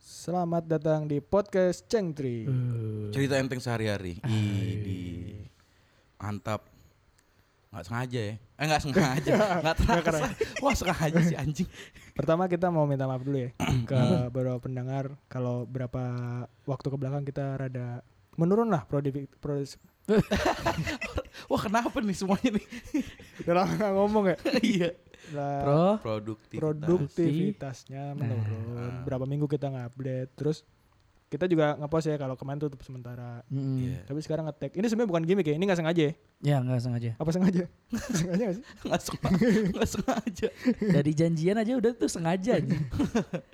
Selamat datang di podcast Cengtri. Cerita enteng sehari-hari. iya, Idi. Mantap. Nggak sengaja ya. Eh nggak sengaja. Nggak terasa. Wah sengaja sih anjing. Pertama kita mau minta maaf dulu ya ke beberapa pendengar kalau berapa waktu ke belakang kita rada menurun lah produk Wah kenapa nih semuanya nih? dalam ngomong ya. Iya. Lah, Pro Produktivitas. produktivitasnya menurun. Berapa minggu kita nggak update. Terus kita juga ngepost ya kalau kemarin tutup sementara. Mm. Iya. Tapi sekarang ngetek. Ini sebenarnya bukan gimmick ya. Ini nggak sengaja ya? Ya nggak sengaja. Apa sengaja? sengaja nggak sih? Nggak sengaja. Nggak sengaja. Dari janjian aja udah tuh sengaja aja.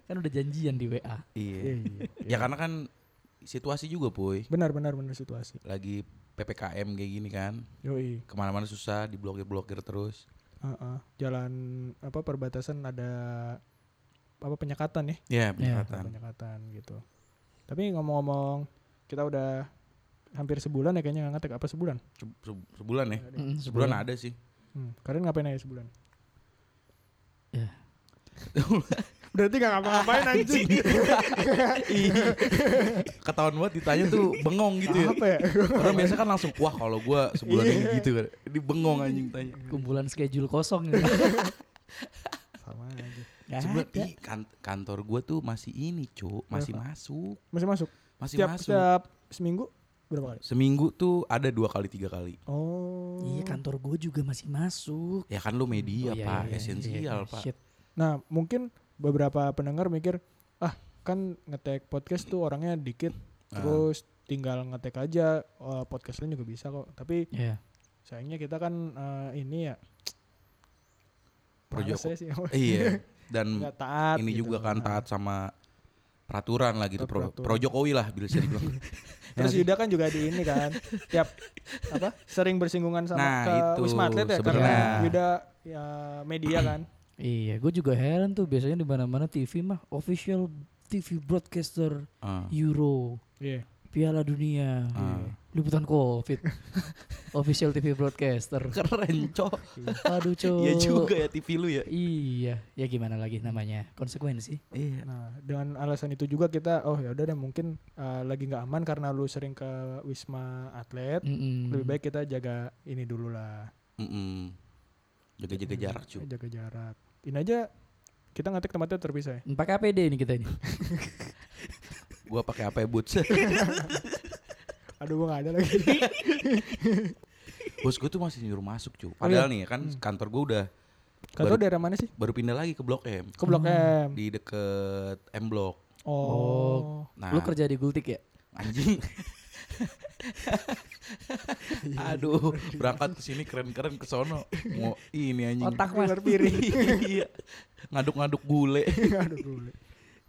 kan udah janjian di WA. Iya. Iya, iya, iya. Ya karena kan situasi juga boy. Benar benar benar situasi. Lagi PPKM kayak gini kan. Yoi. Kemana-mana susah. Diblokir-blokir terus. Heeh. Jalan apa perbatasan ada apa penyekatan ya? Ya Iya. penyekatan. Penyekatan gitu. Tapi ngomong-ngomong, kita udah hampir sebulan ya kayaknya nggak ngetek apa sebulan. Se- se- Sebulan ya. Mm, Sebulan ada sih. Hmm. Kalian ngapain aja sebulan? Ya. Berarti gak ngapa-ngapain anjing. Ih, Iya. Ketahuan banget ditanya tuh bengong gitu ya. Apa ya? Iya. Orang biasa kan langsung wah kalau gua sebulan ini gitu kan. Ini bengong anjing tanya. Kumpulan schedule kosong. gitu. Sama aja. Nggak Sebulan ada. ih, kan- kantor gua tuh masih ini, Cuk. Masih Kenapa? masuk. Masih masuk. Masih Setiap masuk. setiap seminggu berapa kali? Seminggu tuh ada dua kali tiga kali. Oh. Iya kantor gue juga masih masuk. Ya kan lu media, Oh, iya, Pak. iya, iya, Esensial, iya. Pak. Shit. Nah, mungkin beberapa pendengar mikir, "Ah, kan ngetek podcast tuh orangnya dikit, Ah. terus tinggal ngetek aja eh, podcast lain juga bisa kok." Tapi Iya. sayangnya kita kan eh, ini ya Projo- males aja ya. sih. Iya. Dan Nggak taat ini gitu. Oh, juga kan taat sama peraturan lah gitu. Pro, Peraturan. pro Jokowi lah bisa dibilang. Terus Yuda kan juga di ini kan, tiap apa sering bersinggungan sama Nah, ke itu Wisma Atlet ya karena sebenarnya. Yuda ya, media kan. Iya. Gue juga heran tuh biasanya di mana-mana TV mah official TV broadcaster Ah, Euro Iya. Piala Dunia ah. liputan COVID official TV broadcaster. Keren, Cok. Aduh cowok. Iya juga ya TV lu ya. Iya, ya gimana lagi namanya konsekuensi. Iya. Nah, dengan alasan itu juga kita oh ya udah deh mungkin eh, lagi nggak aman karena lu sering ke Wisma Atlet. Mm-mm. Lebih baik kita jaga ini dulu lah. Mm-mm. Jaga-jaga jarak cuy. Jaga jarak. Ini aja kita ngetik tempatnya terpisah ya. Pakai APD ini kita ini. Gua pakai apa ya boots? Aduh gua gak ada lagi. Bos gue tuh masih nyuruh masuk cuy. Oh, Padahal nih kan kantor gue udah Kata Baru- daerah mana sih? baru pindah lagi ke Blok M Ke Blok M. Hmm. di deket M Blok. Oh. Nah, Lu kerja di Gultik ya? anjing. Aduh, berangkat ke sini keren-keren ke sono. Mau ini anjing. Otak mas. Iya. Ngaduk-ngaduk gule. Aduh boleh.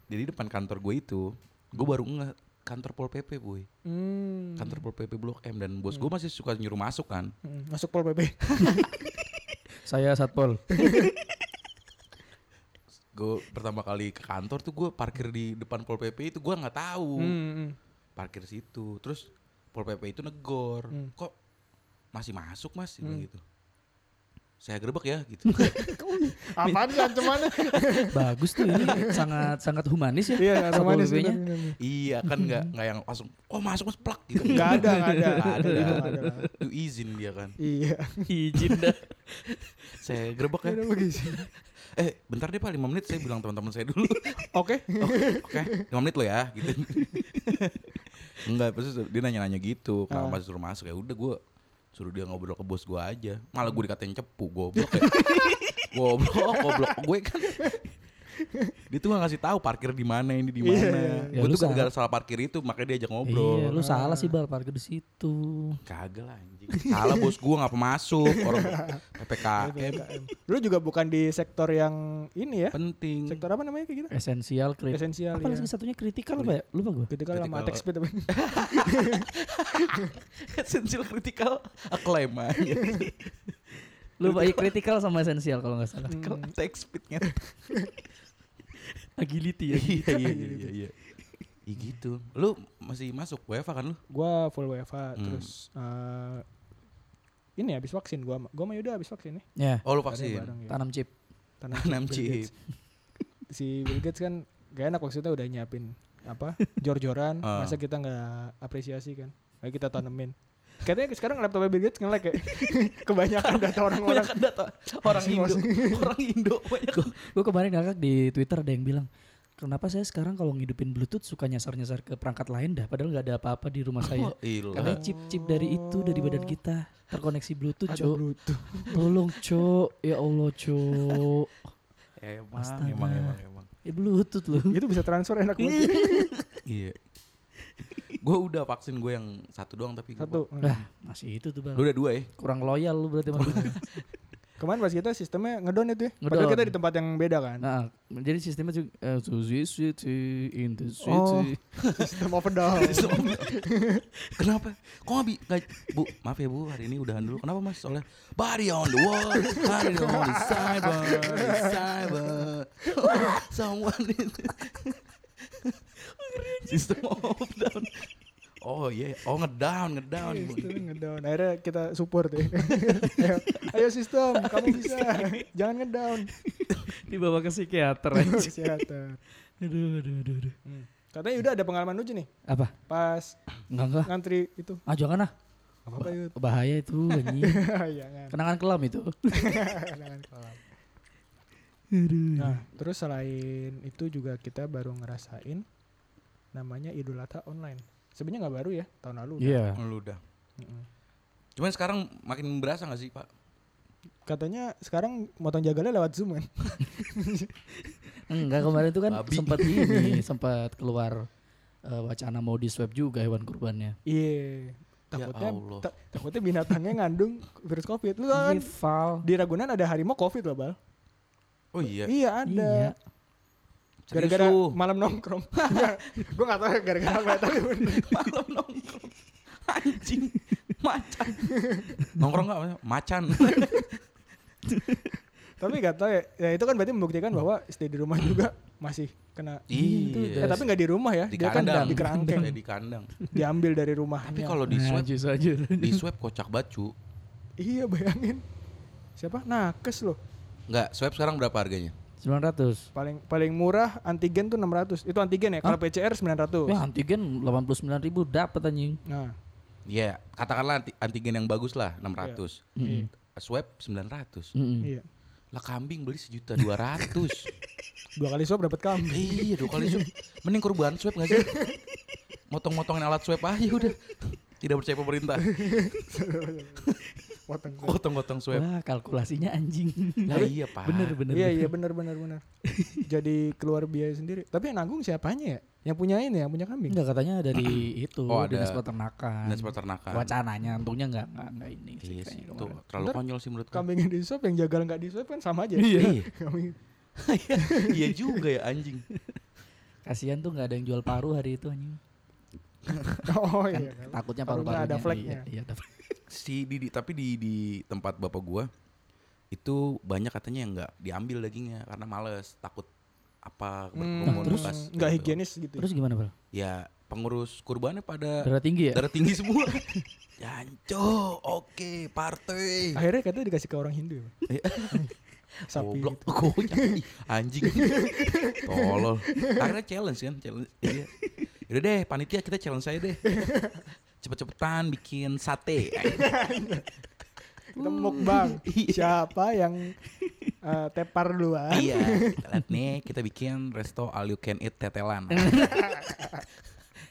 Jadi depan kantor gue itu, gue baru nge kantor Pol PP, boy. Hmm. Kantor Pol PP Blok M dan bos gue masih suka nyuruh masuk kan. Hmm, Masuk Pol PP. Saya satpol. gue pertama kali ke kantor tuh gue parkir di depan pol pp itu gue nggak tahu Hmm, hmm. parkir situ terus pol pp itu negor Hmm. kok masih masuk mas Dia bilang gitu saya gerbek ya gitu Apaan sih ancamannya? Bagus tuh ini sangat sangat humanis ya. Iya, Satpol ancamannya sih. PP-nya. iya kan nggak nggak yang langsung oh masuk mas plak gitu Gak ada, gak ada. Nggak ada. Itu nggak ada. itu izin dia kan Iya. Izin dah. saya gerbek ya Tidak begitu. eh bentar deh pak lima menit saya bilang teman-teman saya dulu Oke. Oke, oke, lima menit lo ya, gitu. Enggak, terus dia nanya-nanya gitu, Ah. kenapa masih suruh masuk ya? Udah gue suruh dia ngobrol ke bos gue aja. Malah gue dikatain cepu, goblok ya. goblok, goblok gue kan. Dia tuh gak ngasih tahu parkir di mana ini di mana. Ya, gue lu tuh gara-gara salah parkir itu makanya diajak ngobrol. Iya, lu salah sih bal parkir di situ. Kagak lah anjing. Salah bos gue gak masuk orang PPKM Lu juga bukan di sektor yang ini ya. penting. Sektor apa namanya kayak gitu? Esensial iya. kritik. Esensial Apa ya. Gitu lagi satunya kritikal apa ya? Lupa gua. Ketika Ketika lama lo- attack speed apa? Sensil kritikal acclaim aja. Lupa ya kritikal sama esensial kalau nggak salah. Kritikal Hmm, attack speed-nya. Agility ya. iya iya iya iya iya Iya gitu lu masih masuk WFA kan lu Gua full WFA Hmm. terus eh, ini habis vaksin gua sama- gua sama Yuda habis vaksin nih. Ya, oh lu Karena vaksin bareng ya. tanam chip. Tanam tanam Bill chip Gates. Si Bill Gates kan gak enak maksudnya udah nyiapin apa jor-joran Ah. masa kita nggak apresiasi kan Ayo kita tanemin katanya sekarang laptopnya Bill Gates nge-lag ya kebanyakan data orang-orang Banyak data orang Masih, Indo, orang Indo banyak. Gue kemarin ngakak di Twitter ada yang bilang, kenapa saya sekarang kalau ngidupin Bluetooth suka nyasar-nyasar ke perangkat lain dah, padahal nggak ada apa-apa di rumah saya. Wah, ilah. Karena chip-chip dari itu dari badan kita terkoneksi Bluetooth, ada cok. Bluetooth Tolong, cok. Ya Allah, cok. emang, Astaga. emang, emang, emang. Ya Bluetooth loh. itu bisa transfer enak banget Iya. gue udah vaksin gue yang satu doang tapi gua- satu Iya. Lah, masih itu tuh, Bang. Lu udah dua ya? Kurang loyal lu berarti Bang. kemarin pas kita sistemnya ngedown itu ya padahal Ngedown. kita di tempat yang beda kan Nah, jadi sistemnya juga eh, to this city, in the city. Oh. sistem overdown Kenapa? Kok nggak bi- nggak- Bu, maaf ya Bu, hari ini udahan dulu. Kenapa Mas? Soalnya body on the wall, body on the cyber, cyber. Someone is System of down. Oh iya, oh ngedown, ngedown. Iya, Sistemnya ngedown akhirnya kita support ya ayo, ayo sistem kamu bisa jangan ngedown Dibawa ke psikiater. anjing. kesehatan aduh, aduh, aduh, aduh. Hmm. katanya udah ada pengalaman lucu nih Apa? pas Enggak, enggak. ngantri itu Ah, jangan ah. apa apa yud Bahaya itu, anjing. Iya, jangan Kenangan kelam itu. jangan kolam nah terus selain itu juga kita baru ngerasain namanya Idul Adha online sebenarnya nggak baru ya tahun lalu udah. Iya. Lu udah. Mm-mm. Cuman sekarang makin berasa gak sih Pak? katanya sekarang motong jagalnya lewat zoom kan Enggak kemarin itu kan Babi. sempat ini, sempat keluar eh, wacana mau diswab juga hewan kurbannya. iya takutnya Allah. ta- takutnya binatangnya ngandung virus covid lu tau kan Rival. di Ragunan ada harimau covid loh bal Oh iya. iya ada Iya. gara-gara Serius, lu. malam nongkrong gue gak tau ya gara-gara apa tapi bener. malam nongkrong anjing macan nongkrong nggak macan tapi gak tau ya, ya itu kan berarti membuktikan Hmm. bahwa stay di rumah juga masih kena Eh, iya tapi gak di rumah ya di dia kan kandang di kerangkeng Iya. Iya, di kandang diambil dari rumahnya tapi kalau di Nah, swab Najis aja. di swab kocak bacu iya bayangin siapa nakes loh nggak swab sekarang berapa harganya 900. paling paling murah antigen tuh 600 itu antigen ya kalau PCR 900 Ya antigen 89.000 ribu dapat anjing. nah ya katakanlah anti- antigen yang bagus lah 600 Mm-mm. swab 900 Mm-mm. iya lah kambing beli sejuta 200 dua kali swab dapat kambing iya dua kali swab mending kurban swab nggak sih motong-motongin alat swab aja udah tidak percaya pemerintah Eh, potong potong-potong swab Wah, kalkulasinya anjing. nah iya pak bener bener. iya iya benar benar benar jadi keluar biaya sendiri tapi yang nanggung siapanya ya yang punya ini yang punya kambing Iya. Enggak katanya dari itu Oh, ada dinas peternakan. Dinas peternakan. Wacananya untungnya enggak enggak, enggak ini sih Iya sih, kayaknya itu kemarin. terlalu Ntar konyol sih menurut gue. kambingnya di swab yang jagal nggak di swab kan sama aja Iya. Kambing- iya juga ya anjing. Kasihan tuh enggak ada yang jual paru hari itu anjing. oh Kan iya takutnya Parunya paru-parunya ada flagnya. Iya, iya, ada flag. Si di, di- tapi di di tempat bapak gua itu banyak katanya yang nggak diambil dagingnya karena males takut apa Hmm, berkerumun terus bekas nggak gitu. higienis gitu ya. Terus gimana, Bro? Ya pengurus kurbannya pada Darah tinggi ya? darah tinggi semua. Yanco, oke, partai. akhirnya katanya dikasih ke orang Hindu ya Pak? sapi gitu. Goblok, konyol. Ih, anjing. Tolol. Akhirnya challenge kan, challenge. Iya. Yaudah deh, panitia kita challenge saya deh. Cepet-cepetan bikin sate. kita mukbang Iya. siapa yang eh, tepar Kan? duluan Iya, kita lihat nih kita bikin resto all you can eat tetelan. Iya,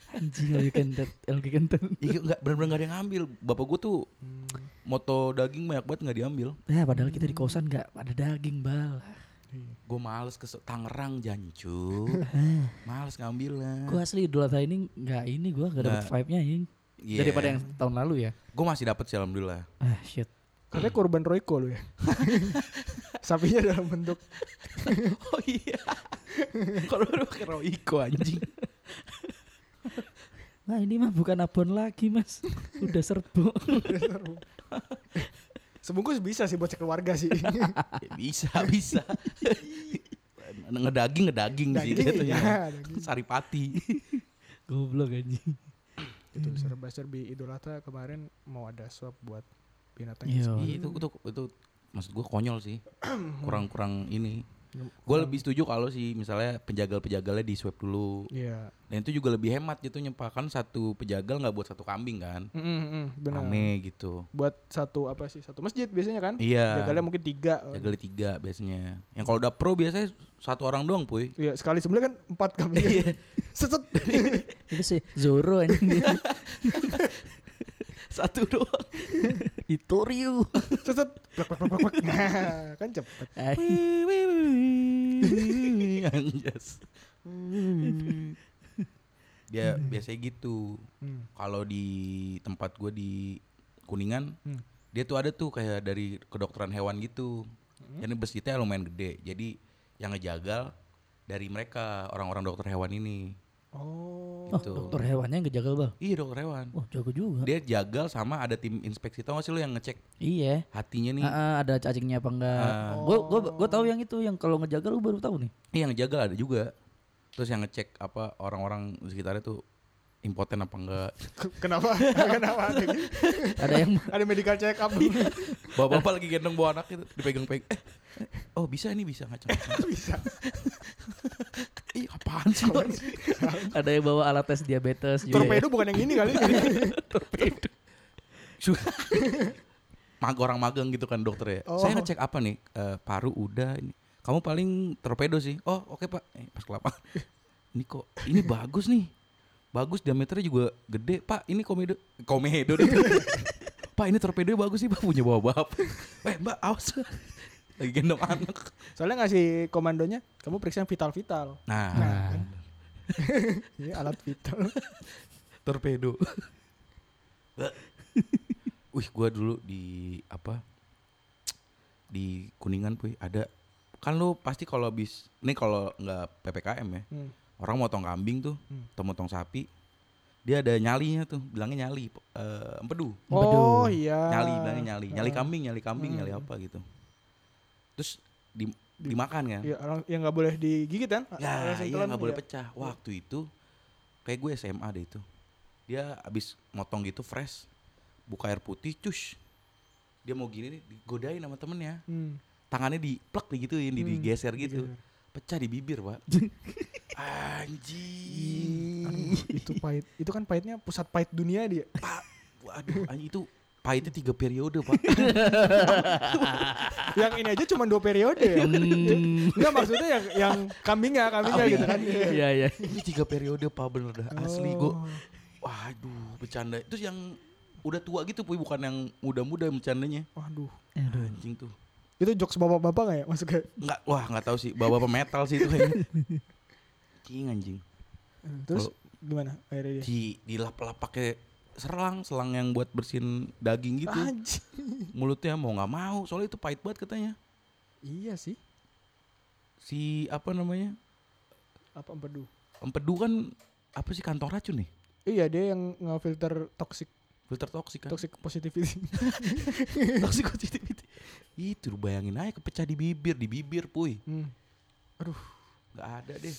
Anjing lagi kentet, lagi kentet. Iya enggak benar-benar enggak ada yang ngambil. Bapak gua tuh Hmm, moto daging banyak banget enggak diambil. Nah, padahal kita di kosan enggak ada daging, Bal. iya. Gua males ke Tangerang Jancu. males ngambilnya. Gua asli Idul Adha ini enggak ini gua enggak dapat Nggak. vibe-nya anjing. Nah. Iya. Daripada yang tahun lalu ya. gua masih dapat sih alhamdulillah. Ah, shit. katanya korban Royko lu ya sapinya dalam bentuk Oh iya. Kalau baru pakai Royco anjing. Nah, ini mah bukan abon lagi, Mas. Udah serbu. sebungkus bisa sih buat sekeluarga sih Ya, bisa, bisa. ngedaging ngedaging sih daging jatuhnya. iya. ya daging Saripati. Goblok anjing. itu serba serbi Idul Adha kemarin mau ada swab buat binatang Iya. Iya, itu itu itu maksud gua konyol sih. Kurang-kurang ini Gue lebih setuju kalau si misalnya penjagal-penjagalnya di swab dulu. Iya. Dan itu juga lebih hemat gitu nyempakan satu penjagal nggak buat satu kambing kan. Mm, mm, mm, benar. Rame gitu. Buat satu apa sih? Satu masjid biasanya kan? Iya. Jagalnya mungkin tiga. Jagal tiga biasanya. Yang kalau udah pro biasanya satu orang doang puy. Iya, sekali sebelumnya kan empat kami. Iya. Seset. Itu sih Zoro anjing. Satu doang. Itoriu. Seset. Plak, plak, plak, plak, plak. Nah, kan cepet. Ah, Anjas. Hmm. Dia biasanya gitu. Hmm. Kalau di tempat gue di Kuningan, Hmm. dia tuh ada tuh kayak dari kedokteran hewan gitu. Hmm. Jadi masjidnya lumayan gede. Jadi yang ngejagal dari mereka orang-orang dokter hewan ini. Oh. Oh, Gitu. dokter hewannya yang ngejagal, Bang. Iya dokter hewan. Wah, jago juga. Dia jagal sama ada tim inspeksi tau gak sih lo yang ngecek Iya. hatinya nih. Heeh, ada cacingnya apa enggak? Ah. Gue gue gue tahu yang itu yang kalau ngejagal lu baru tahu nih. Iya yang jaga ada juga. Terus yang ngecek apa orang-orang di sekitarnya tuh impoten apa enggak. Kenapa? Kenapa? ada gitu? Ada yang Ada medical check up. Iya. Bapak-bapak lagi gendong bawa anak itu dipegang-pegang. Eh, oh bisa nih bisa ngacak. Bisa. Ih apaan sih? Bang? ada yang bawa alat tes diabetes Iya. juga. Torpedo bukan yang ini kali. Su- Mag orang magang gitu kan dokter ya. Oh. Saya ngecek apa nih? Eh, paru udah ini. Kamu paling torpedo sih. Oh, oke Pak. Eh, pas kelapa. ini kok ini bagus nih. Bagus diameternya juga gede, Pak. Ini komedo komedo. deh. Pak, ini torpedo bagus sih, Pak. Punya bawa bapak. Eh, Mbak, awas. Lagi gendong anak. Soalnya ngasih komandonya, kamu periksa yang vital-vital. Nah, Nah. Iya, alat vital. torpedo. Wih, gua dulu di apa? Di Kuningan puy ada kan lu pasti kalau bis nih kalau nggak PPKM ya, Hmm. orang motong kambing tuh, Hmm. atau motong sapi, dia ada nyalinya tuh, bilangnya nyali, eh empedu. Oh iya. Nyali, bilangnya nyali. Nyali Ah. kambing, nyali kambing, Hmm. nyali apa gitu. Terus di- dimakan kan? Iya, orang yang nggak boleh digigit kan? Ya, Orang iya sentuhan, nggak boleh iya. pecah. Waktu itu kayak gue SMA deh itu. Dia abis motong gitu fresh, buka air putih, cus. Dia mau gini nih, digodain sama temennya. Hmm. Tangannya diplek digituin, di- Hmm, digeser gitu. digeser. Pecah di bibir, Pak. Anjing. Aduh, itu pahit. Itu kan pahitnya pusat pahit dunia dia. Pak, waduh, anjing itu pahitnya tiga periode, Pak. yang ini aja cuma dua periode. ya? Hmm. Enggak maksudnya yang yang kambingnya, kambingnya Kambing. gitu kan. Iya. Iya, iya. Itu tiga periode, Pak, bener dah. Asli, gue Oh. Waduh, bercanda. Terus yang udah tua gitu, Puy, bukan yang muda-muda bercandanya. Waduh. Anjing tuh. Itu jokes bapak-bapak nggak ya? Masuk ke Enggak, wah enggak tahu sih. Bawa apa metal sih itu kayaknya. Anjing anjing. Aduh, terus Kalau- gimana akhirnya dia? Di dilap-lap pakai selang, selang yang buat bersihin daging gitu. Ah, Anjing. Mulutnya mau nggak mau, soalnya itu pahit banget katanya. Iya sih. Si apa namanya? Apa empedu? Empedu kan apa sih kantong racun nih? Iya, dia yang ngefilter toxic Filter toksik kan? toxic positivity. Toxic positivity. Itu lu bayangin aja kepecah di bibir, di bibir puy. hmm. Enggak ada deh.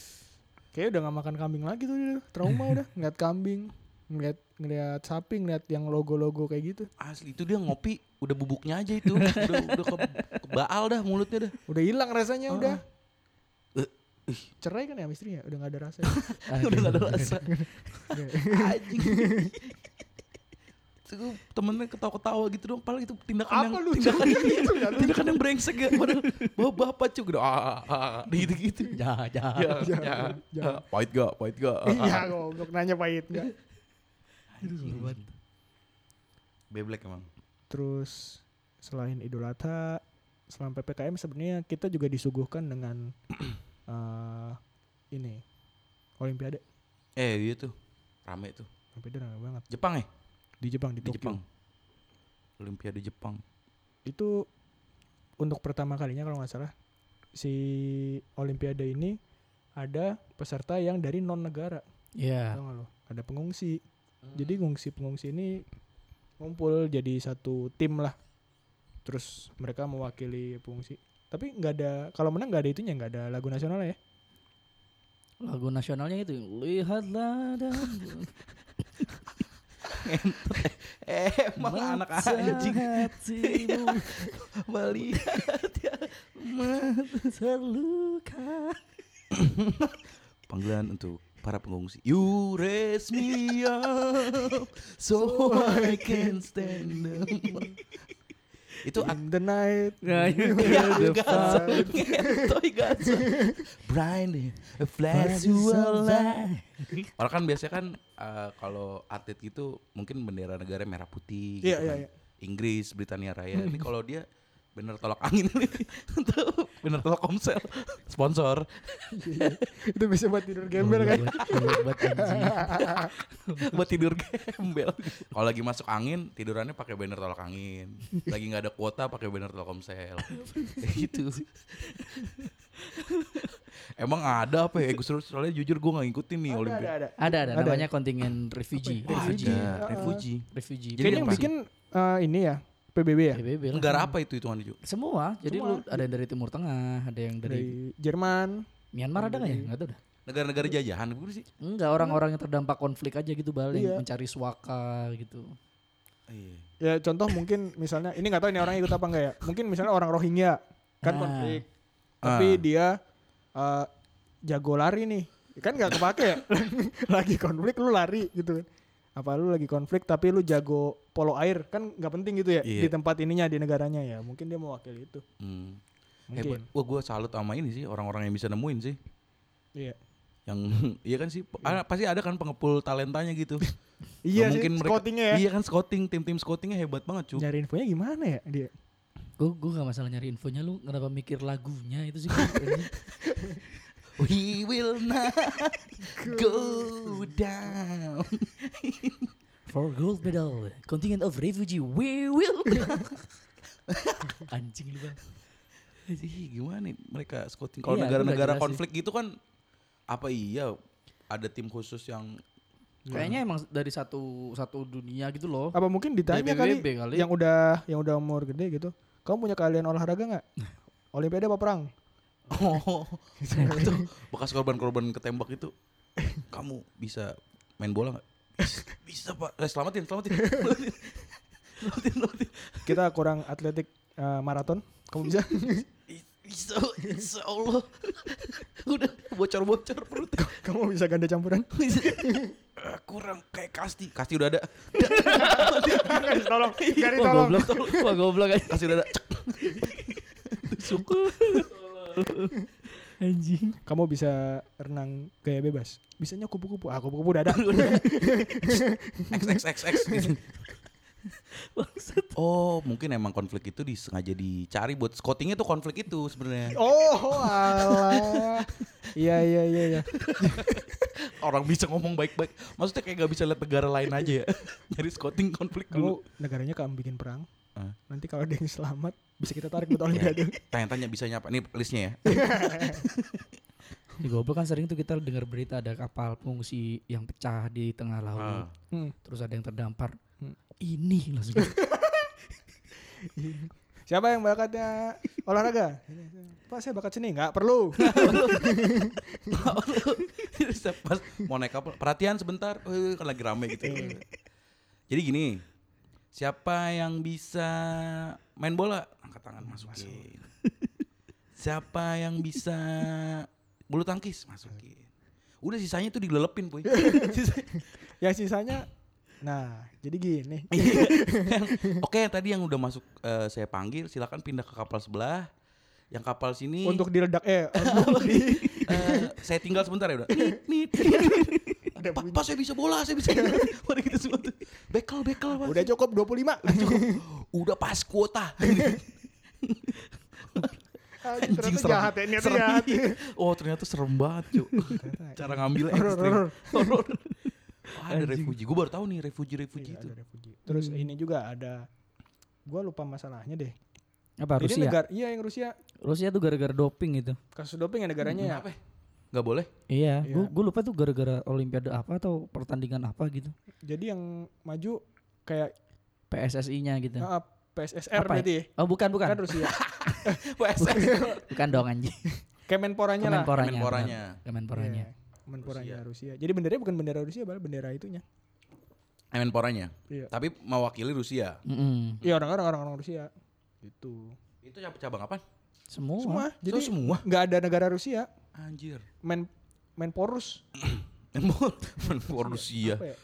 Kayaknya udah gak makan kambing lagi tuh dia. Trauma udah ngeliat kambing, ngeliat ngeliat sapi, ngeliat yang logo-logo kayak gitu. Asli itu dia ngopi udah bubuknya aja itu. Udah udah ke, kebaal dah mulutnya dah. Udah hilang rasanya udah. Ah. Eh, ih, Cerai kan ya sama istrinya, udah gak ada rasa. ya? udah gak ada rasa. Iya. anjing Itu temennya ketawa-ketawa gitu dong padahal itu tindakan Apa yang lucu? tindakan, Itu nggak lucu. tindakan yang brengsek ya padahal bawa bapak cuy gitu ah, ah, ah, gitu-gitu Ya, ya. ya, ya, jangan, ya. jangan. pahit gak pahit gak Ah, Iya, ah. goblok nanya pahit nggak? Beblek emang Terus selain Idul Adha, selama PPKM sebenarnya kita juga disuguhkan dengan eh ini Olimpiade. eh dia tuh rame tuh Olimpiade rame banget Jepang ya di Jepang di, di Tokyo. Jepang Olimpiade Jepang Itu untuk pertama kalinya kalau nggak salah si Olimpiade ini ada peserta yang dari non negara, Iya. tau nggak lo? Ada pengungsi. Hmm. Jadi pengungsi-pengungsi ini ngumpul jadi satu tim lah. Terus mereka mewakili pengungsi. Tapi nggak ada kalau menang nggak ada itunya, nggak ada lagu nasional ya. gitu. Lagu nasionalnya itu lihatlah dan Eh, Emang anak anjing Iya. hatimu melihat ya terluka. Panggilan untuk para pengungsi. You raise me up so I can stand up. Itu ak- In the night. Nah, you Ya, will nggak find- so- ngentoy, nggak so. Blinding, eh, a flash you are light. Orang kan biasanya kan eh, kalau atlet gitu mungkin bendera negara merah putih gitu Iya, iya, kan. iya. Inggris, Britania Raya. Ini kalau dia bener tolak angin tuh bener tolak komsel sponsor Itu bisa buat tidur gembel kan. Hebat anjing. buat tidur gembel. Kalau lagi masuk angin tidurannya pakai banner tolak angin. Lagi nggak ada kuota pakai banner Telkomsel. Kayak gitu. Emang ada apa ya? Gue soalnya jujur gue nggak ngikutin nih Ada, ada, Olimpiade. ada. Ada ada Ada. namanya kontingen refugee. Wah, iya. refugee. ada. Refugee. ya? Refugee. Refugee. Jadi Jadi yang apa? bikin eh, ini ya PBB ya. PBB lah. Negara apa itu hitungan Ju? Semua. Jadi lu ada yang dari Timur Tengah, ada yang dari, Dari Jerman. Myanmar ada nggak ya? Nggak ada dah. Negara-negara jajahan gue sih. Enggak orang-orang yang terdampak konflik aja gitu balik Iya. mencari suaka gitu. Iya. Ya contoh mungkin misalnya ini nggak tahu ini orang ikut apa enggak ya. Mungkin misalnya orang Rohingya kan Nah. konflik. Tapi Ah. dia eh, jago lari nih. Kan nggak kepake ya. lagi konflik lu lari gitu. Apa lu lagi konflik tapi lu jago polo air kan nggak penting gitu ya Iya. di tempat ininya di negaranya ya. Mungkin dia mewakili itu. Hmm. Mungkin. Hebat. Wah gue salut sama ini sih orang-orang yang bisa nemuin sih. Iya. Yang iya kan sih. ada- pasti ada kan pengepul talentanya gitu. Iya sih, Nggak mereka- scoutingnya ya. Iya kan scouting, tim-tim scoutingnya hebat banget cu. Nyari infonya gimana ya dia? Gue gue gak masalah nyari infonya lu kenapa mikir lagunya itu sih. anjing? We will not go down. For gold medal, contingent of refugee, we will. Anjing lu bang. Jadi gimana nih mereka scouting? Kalau Iya, itu nggak negara-negara jelas konflik gitu kan apa iya ada tim khusus yang Kayaknya emang dari satu satu dunia gitu loh. Apa mungkin ditanya kali, PBB kali. yang udah yang udah umur gede gitu. Kamu punya kalian olahraga nggak? Olimpiade apa perang? oh itu bekas korban-korban ketembak itu kamu bisa main bola nggak? Bisa, bisa pak. Eh, Selamatin, selamatin. Selamatin, selamatin. selamatin. Kita kurang atletik eh, maraton. Kamu bisa? Bisa, insya Allah. Udah bocor-bocor perut. Kamu bisa ganda campuran? Eh, kurang kayak kasti. Kasti udah ada. Garis tolong, garis Wah tolong. goblok, wah goblok aja. Kasti udah ada. Anjing. Kamu bisa renang gaya bebas. Bisanya kupu-kupu. Ah, kupu-kupu dada. X X X X. gitu. Oh, mungkin emang konflik itu disengaja dicari buat scoutingnya tuh konflik itu sebenarnya. oh, alah. Iya, iya, iya, iya. Orang bisa ngomong baik-baik. Maksudnya kayak gak bisa lihat negara lain aja ya. Nyari scouting konflik dulu. Kamu negaranya kamu bikin perang. Ah. Iya. Nanti kalau ada yang selamat bisa kita tarik buat olimpiade. Tanya-tanya bisa nyapa. Ini listnya ya. Di goblok kan sering tuh kita dengar berita ada kapal pengungsi yang pecah di tengah Ah. laut. Hmm. Terus ada yang terdampar. Hmm. Ini langsung. Siapa yang bakatnya olahraga? Pak saya bakat seni nggak perlu. Terus pas mau naik kapal, perhatian sebentar. Eh, kan lagi rame gitu. Jadi gini, siapa yang bisa main bola? Angkat tangan masukin. Siapa yang bisa bulu tangkis? Masukin. Udah sisanya tuh dilelepin, Puy. Sisa- ya sisanya, nah jadi gini. Yang- Oke, tadi yang udah masuk eh, saya panggil, silakan pindah ke kapal sebelah. Yang kapal sini Untuk diledak eh untuk di eh, saya tinggal sebentar ya udah. Iya. Nit, nit. Ada Pak, bunyi. Pak, saya bisa bola, saya bisa. Mari kita gitu semua tuh. Bekel, bekel, Pak. udah cukup 25 udah pas kuota. Anjing, Anjing ternyata serem. jahat ya niatnya Serem. jahat. Oh, ternyata serem banget, Cuk. Cara ngambilnya Horor, ekstrim. horor. Horor. Wah, ada refugee. Gue baru tahu nih refugee-refugee Iya, itu. ada Hmm. refugee. Terus ini juga ada, gua lupa masalahnya deh. Apa Ini Rusia? negara, iya yang Rusia Rusia tuh gara-gara doping itu. kasus doping ya negaranya ya. Kenapa? Gak boleh. Iya, Iya. gue gue lupa tuh gara-gara olimpiade apa atau pertandingan apa gitu. Jadi yang maju kayak PSSI-nya gitu. ah, PSSR Apa ya? berarti ya. Oh, bukan bukan. Kan Rusia. PSS. Bukan dong anjing. Kemenporanya lah. Kemenporanya. Kemenporanya. benar. Kemenporanya. Iya, Kemenporanya Rusia. Jadi benderanya bukan bendera Rusia, malah bendera itunya. Menporanya. Iya. Tapi mewakili Rusia. Mm-mm. Iya orang-orang orang-orang Rusia. Gitu. Itu cab- cabang apa? Oh, ah. Semua. Semua. Jadi Jadi semua. nggak ada negara Rusia Anjir. main main porus. Menpor Menpor Rusia. Apa ya?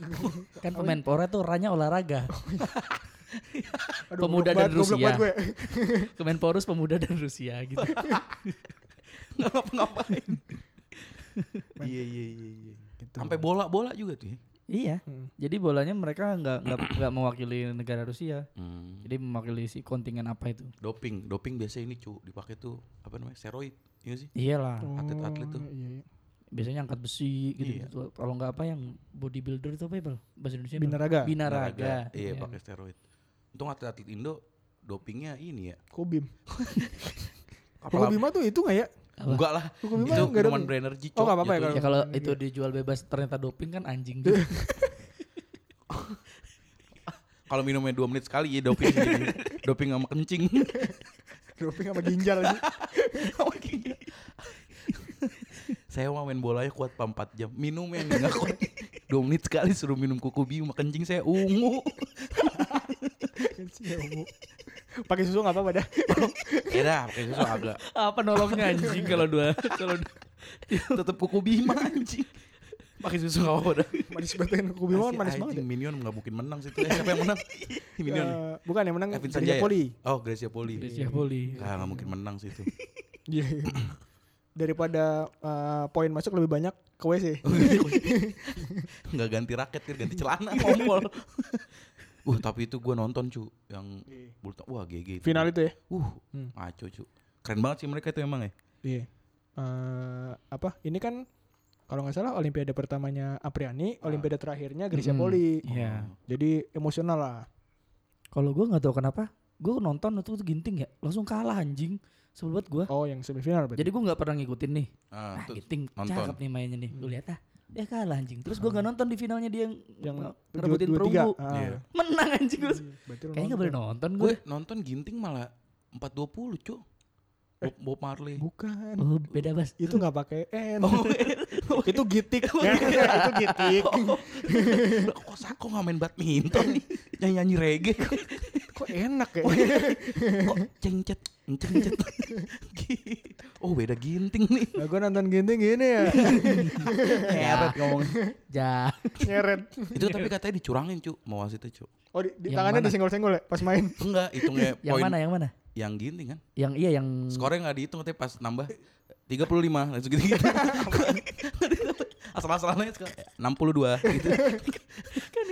Kan pemain pora tuh ranya olahraga. Aduh, goblok Pemuda dan banget, goblok Rusia. banget gue. Kemenporus pemuda dan Rusia gitu. Nggak ngapa-ngapain. Iya iya iya iya. Gitu. Sampai bola-bola juga tuh ya. iya. Hmm. Jadi bolanya mereka nggak nggak nggak mewakili negara Rusia. Hmm. Jadi mewakili si kontingen apa itu? Doping, doping biasa ini cu dipakai tuh apa namanya steroid, iya sih. Iyalah. Atlet-atlet tuh. Oh, Iya, iya. Biasanya angkat besi gitu. Iya. gitu. Kalau nggak apa yang bodybuilder itu apa ya, Bal? Bahasa Indonesia? apa? Binaraga. Binaraga. Iya Iya. pakai steroid. Untung atlet-atlet Indo dopingnya ini ya. Kobim. Kapal Kobim tuh itu nggak ya? Apa? Enggak lah. Kobim itu nggak ada. minuman berenergi Oh, nggak apa-apa ya jatuhnya. Ya kalau itu dijual bebas ternyata doping kan anjing juga. Kalau minumnya 2 menit sekali ya doping jadi doping sama kencing. Doping sama ginjal sih. Saya mau main bolanya kuat pa 4 jam. Minumnya nih enggak kuat. 2 menit sekali suruh minum kuku biu sama kencing saya ungu. Kencing ya, Umu. Pakai susu nggak apa-apa dah. Ya dah, pakai susu agak. apa nolongnya anjing kalau dua kalau dua- Tetep kuku bima anjing. Pakai susu enggak apa-apa dah. Manis banget kan Kobim Ah, si manis anjing banget. ya. Minion nggak mungkin menang situ. Eh, siapa yang menang? Si Minion. Eh, bukan yang menang Kevin Gereja Sanjaya. Poli. Oh, Gracia Poli. Gracia Poli. Ah, nggak mungkin menang situ. Iya. iya. Daripada eh, poin masuk lebih banyak ke WC. nggak ganti raket kan ganti celana Iya. ngompol. uh, tapi itu gua nonton cu yang Iya. bulu tang- wah GG itu. Final itu ya. Uh, Hmm. ngaco cu. Keren banget sih mereka itu emang ya. Iya. Eh, apa? Ini kan kalau nggak salah Olimpiade pertamanya Apriani, Ah. Olimpiade terakhirnya Grecia Hmm. Mm-mm. Poli. Iya. Oh. Jadi emosional lah. Kalau gue nggak tahu kenapa, gue nonton itu tuh ginting ya, langsung kalah anjing. Sebel banget gue. Oh, yang semifinal berarti. Jadi gue nggak pernah ngikutin nih. Ah, Nah, Ah, tuh. ginting nonton. cakep nih mainnya nih. Lu lihat ah. Dia kalah anjing. Terus gue nggak nonton di finalnya dia yang, yang nge- dua- ngerebutin dua- tiga. perunggu. Ah. Iya. Menang anjing gue. Berarti lu Kayaknya nggak nonton. boleh nonton gue. Gue nonton ginting malah 420 cu. Eh. Bob, Bob Marley. Bukan. Oh beda bas. Itu nggak pakai N. Oh, itu gitik. Ya, gitu. itu gitik. Lah, Kok Sako nggak main badminton nih? Nyanyi-nyanyi reggae. Kok enak ya? Kok cengcet, cengcet. oh beda ginting nih. Nah, gue nonton ginting gini ya. Iya. Nyeret ngomong. Ja. Nyeret. Itu tapi katanya dicurangin cu, mau wasitnya cu. Oh, di, di Yang tangannya mana? disenggol-senggol ya pas main. Enggak, hitungnya Yang poin mana ya? yang mana? yang ginting kan. Yang iya yang. Skornya nggak dihitung katanya pas nambah 35 langsung gitu-gitu. Asal-asalannya sekarang 62 gitu. Kan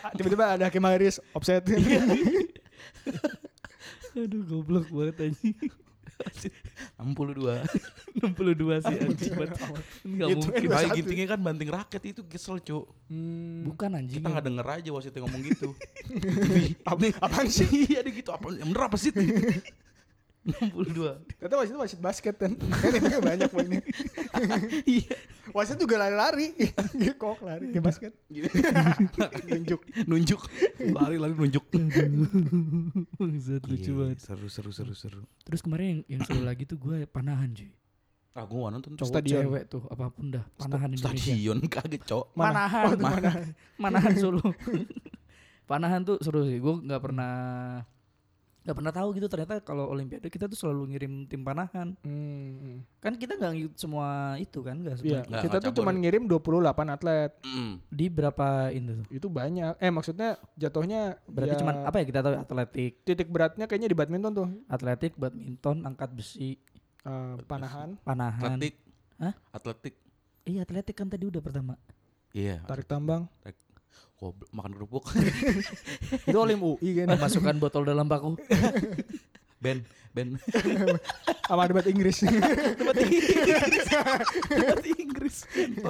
Ah, Tiba-tiba ada Hakim Haris offset. Aduh goblok banget anjing. 62. 62 sih anjing banget. Nggak Itu mungkin. Kita 21. gintingnya kan banting raket itu kesel cu. Hmm. Bukan anjing. Kita nggak denger aja wasitnya ngomong gitu. Apa- Apaan sih? Iya dia gitu apa yang bener apa sih? 62. Kata wasit itu wasit basket kan. Kan itu banyak poinnya. Iya. Wasit juga lari-lari. Kok lari ke basket. Tunjuk. nunjuk. Lari lari nunjuk. Iya, Bangsat, lucu banget. Seru seru seru seru. Iya. Terus kemarin yang, yang seru lagi tuh gue panahan cuy. Ah gua nggak nonton Cowok Stadion. cewek tuh apapun dah panahan Indonesia. Stadion kaget cok. Mana? Panahan, Oh, itu ma- mana? panahan solo. panahan tuh seru sih. Gue nggak pernah nggak pernah tahu gitu ternyata kalau Olimpiade kita tuh selalu ngirim tim panahan. Hmm. Kan kita nggak ngikut semua itu kan nggak semua. Iya, Nggak, kita nggak tuh campur. cuman ngirim 28 atlet. Mm. Di berapa itu tuh? Itu banyak. Eh maksudnya jatuhnya Berarti ya, cuman apa ya kita tahu atletik, titik beratnya kayaknya di badminton tuh. atletik, badminton, angkat besi, Eh, panahan, panahan. Atletik. Hah? Atletik. Iya, atletik kan tadi udah pertama. Iya. tarik tambang. Goblok makan kerupuk. itu Olim UI kan. Masukkan botol dalam baku. ben, ben. Sama debat Inggris. Debat Inggris. Debat Inggris.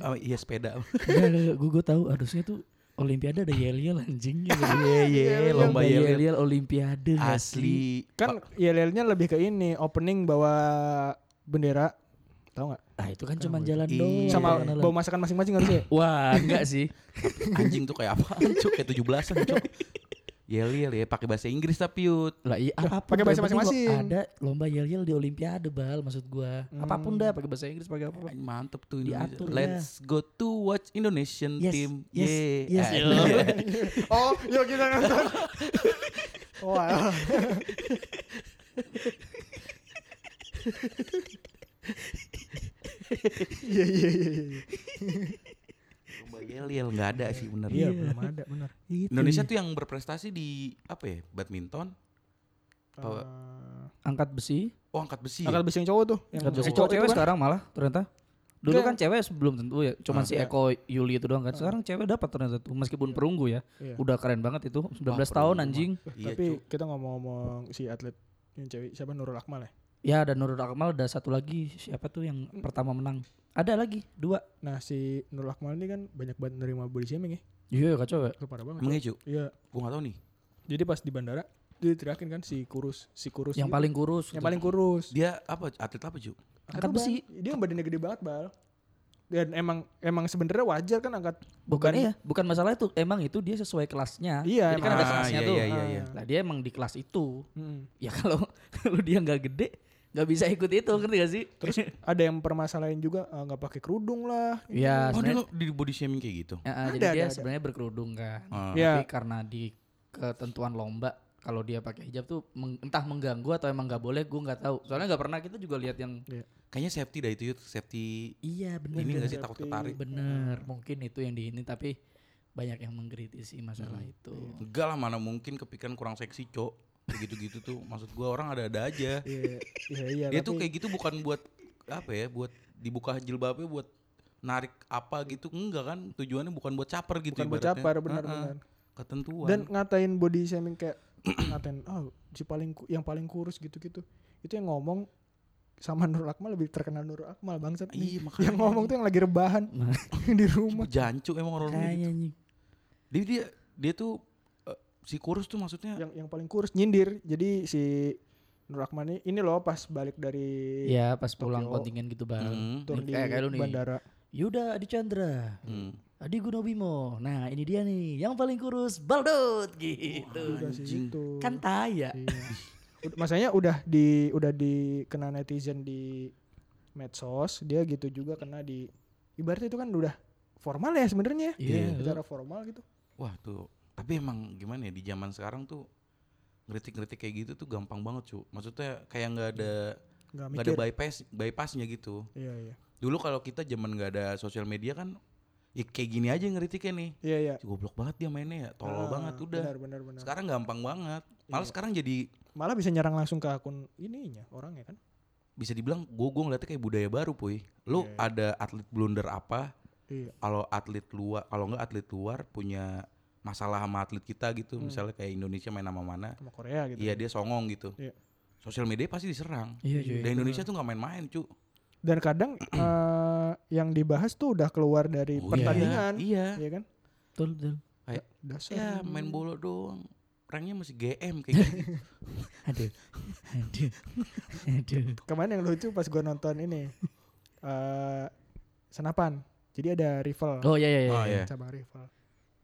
Oh, iya sepeda. gue gue tahu harusnya tuh Olimpiade ada yel-yel anjing gitu. Iya, iya, lomba Iya, yel. yel-yel Olimpiade nggak sih? Asli. kan yel-yelnya lebih ke ini, opening bawa bendera. Tahu nggak? Ah itu kan cuma jalan doang. Iya. Sama Jalan-jalan. bawa masakan masing-masing harusnya. Wah enggak sih. anjing tuh kayak apa? Cuk, kayak 17-an, Cuk. Yel yel ya pakai bahasa Inggris tapi yut. Lah iya apapun. pakai dah, bahasa yang penting masing-masing. Hmm. lo Ada lomba yel-yel di olimpiade bal maksud gua. Apapun dah pakai bahasa Inggris pakai apa. Anjing, Mantep tuh Indonesia. Diatur, Let's go to watch Indonesian Yes, iya. team. yes, Yeah. yes. Anjing. oh yuk kita nonton oh alah. iya iya iya iya. Lomba yel yel nggak ada sih bener. iya belum ada benar Gitu. Indonesia tuh yang berprestasi di apa ya? Badminton. Apa? angkat besi. Oh angkat besi. angkat ya? Iya. besi yang cowok tuh yang Angkat besi Eh, cowok itu cowok-cewek kan sekarang malah ternyata. Enggak. Dulu iya. Ah. kan cewek sebelum tentu ya, cuman Ah. si Eko Yuli itu doang kan. Sekarang cewek dapat ternyata tuh meskipun perunggu ya. Iya. Udah keren banget itu. 19 perunggu tahun mah. anjing. Iya, tapi cu. kita ngomong-ngomong si atlet yang cewek siapa Nurul Akmal ya Ya dan Nurul Akmal ada satu lagi siapa tuh yang Hmm. pertama menang? Ada lagi dua. nah si Nurul Akmal ini kan banyak banget nerima body shaming ya Iya kacau ya. Itu parah banget Emang ya cu? iya Gue gak tau nih. jadi pas di bandara dia teriakin kan si kurus si kurus Yang gitu. paling kurus. yang paling kurus Dia apa? Atlet apa cu? Angkat Apa, besi. Bal? dia yang badannya gede banget bal dan emang emang sebenarnya wajar kan angkat bukan iya, bukan masalah itu. Emang itu dia sesuai kelasnya. Iya, Jadi kan ada emang. kelasnya iya, tuh. Iya iya Ah. iya. Nah, dia emang di kelas itu. Mm. Ya kalau kalau dia nggak gede nggak bisa ikut itu ngerti gak sih? terus ada yang permasalahin juga eh, nggak pakai kerudung lah ya Oh dia sebenarnya nggak- di body shaming kayak gitu. ya, Ada, jadi ada, dia ada. sebenarnya berkerudung kan. Ah. Iya. Tapi karena di ketentuan lomba kalau dia pakai hijab tuh meng- entah mengganggu atau emang nggak boleh gue nggak tahu. Soalnya nggak pernah kita juga lihat yang Kayaknya safety dah itu yut. Safety iya bener ini gak bener, safety. sih takut ketarik? bener. Hmm. mungkin itu yang di ini tapi banyak yang mengkritisi masalah itu. Enggak lah mana mungkin kepikiran kurang seksi cok Gitu-gitu tuh maksud gua orang ada-ada aja iya iya iya tapi- Dia tuh kayak gitu bukan buat apa ya Buat dibuka jilbabnya buat narik apa gitu Enggak kan tujuannya bukan buat caper gitu bukan buat ibaratnya. capar benar Heeh, benar Ketentuan dan ngatain body shaming kayak ngatain oh si paling ku- yang paling kurus gitu-gitu itu yang ngomong sama Nurul Akmal lebih terkenal Nurul Akmal bangsat nih. Iya makanya yang ngomong tuh yang lagi rebahan Nah. di rumah Jancu emang orang gitu Kayaknya nih. Dia, dia, dia tuh eh, si kurus tuh maksudnya yang yang paling kurus nyindir jadi si Nur Akmal ini ini loh pas balik dari Iya. Ya pas pulang Tokyo. kontingen gitu bang. Hmm, tur Nih, di kayak- kayak lu nih. bandara Yuda Adi Chandra. hmm. Adi Gunobimo. Nah ini dia nih yang paling kurus Baldut gitu. udah sih Anjing. gitu Kan Iya. taya. Ud- masanya udah di udah dikena netizen di medsos dia gitu juga kena di ibaratnya itu kan udah formal ya sebenarnya Iya. secara formal gitu Wah tuh Tapi emang gimana ya di zaman sekarang tuh Ngeritik-ngeritik kayak gitu tuh gampang banget cu Maksudnya kayak nggak ada nggak nggak mikir ada bypass bypassnya gitu iya iya dulu kalau kita zaman nggak ada sosial media kan ya kayak gini aja ngeritiknya nih iya iya "Cih, goblok banget dia mainnya ya tolol Ah, banget udah benar benar benar sekarang gampang banget malah Iya. sekarang jadi malah bisa nyerang langsung ke akun ininya orangnya kan bisa dibilang gue gue ngeliatnya kayak budaya baru puy Iya, lu iya. ada atlet blunder apa iya kalau atlet luar kalau nggak atlet luar punya masalah sama atlet kita gitu Hmm. misalnya kayak Indonesia main sama mana sama Korea gitu iya dia songong gitu Iya. sosial media pasti diserang Iya cuy. dan Indonesia tuh nggak main-main cu dan kadang eh, yang dibahas tuh udah keluar dari Oh, iya. pertandingan Hmm. iya iya kan Betul betul. dasar ya main bola doang orangnya masih GM kayak gitu Aduh. Aduh. Aduh. kemarin yang lucu pas gua nonton ini eh senapan jadi ada rival Oh iya iya iya. Oh, iya. iya. cabang rival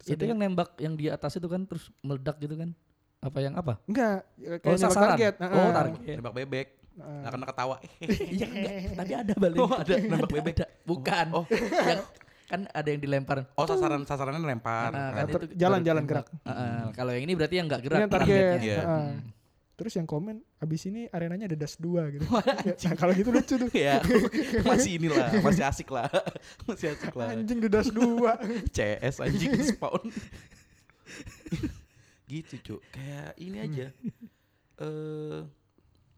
Terus Itu ada- yang nembak yang di atas itu kan terus meledak gitu kan. Apa yang apa? enggak kayak nembak Oh, sasaran. target Oh, target. nembak bebek Heeh. nggak kena ketawa Iya enggak. Tadi ada balik. Oh, ada. Nembak bebek. Bukan. oh Yang kan ada yang dilempar. oh sasaran sasarannya lempar Nah, Nah, kan ter- itu jalan baru jalan gerak nembak. Heeh, Kalau yang ini berarti yang nggak ini gerak. yang target Ah. Iya. Heeh. Hmm. terus yang komen abis ini arenanya ada das dua gitu nah kalau gitu lucu tuh ya masih inilah masih asik lah masih asik lah anjing di das dua CS anjing spawn gitu cuk kayak ini aja Hmm. eh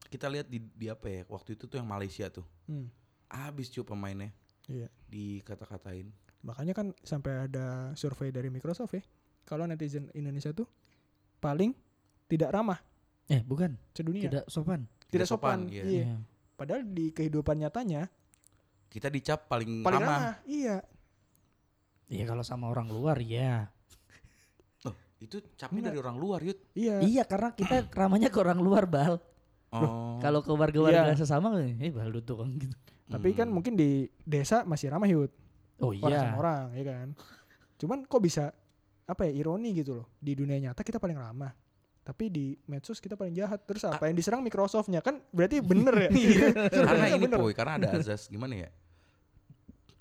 kita lihat di, di apa ya waktu itu tuh yang Malaysia tuh Hmm, abis cuk pemainnya Iya. dikata-katain makanya kan sampai ada survei dari Microsoft ya kalau netizen Indonesia tuh paling tidak ramah Eh bukan. sedunia Tidak sopan. Tidak sopan, iya. iya. padahal di kehidupan nyatanya kita dicap paling, paling ramah. ramah iya Iya kalau sama orang luar ya. itu capnya dari orang luar yut iya Iya karena kita ramahnya ke orang luar bal. oh Kalau ke warga-warga Iya. sesama, eh bal lu tuh kan gitu. tapi kan hmm. mungkin di desa masih ramah yud Oh orang sama iya. orang ya kan cuman kok bisa apa ya ironi gitu loh di dunia nyata kita paling ramah tapi di medsos kita paling jahat terus apa yang diserang Microsoftnya kan berarti bener ya Iya. Iya. karena Sebenarnya ini bener. poy karena ada azas gimana ya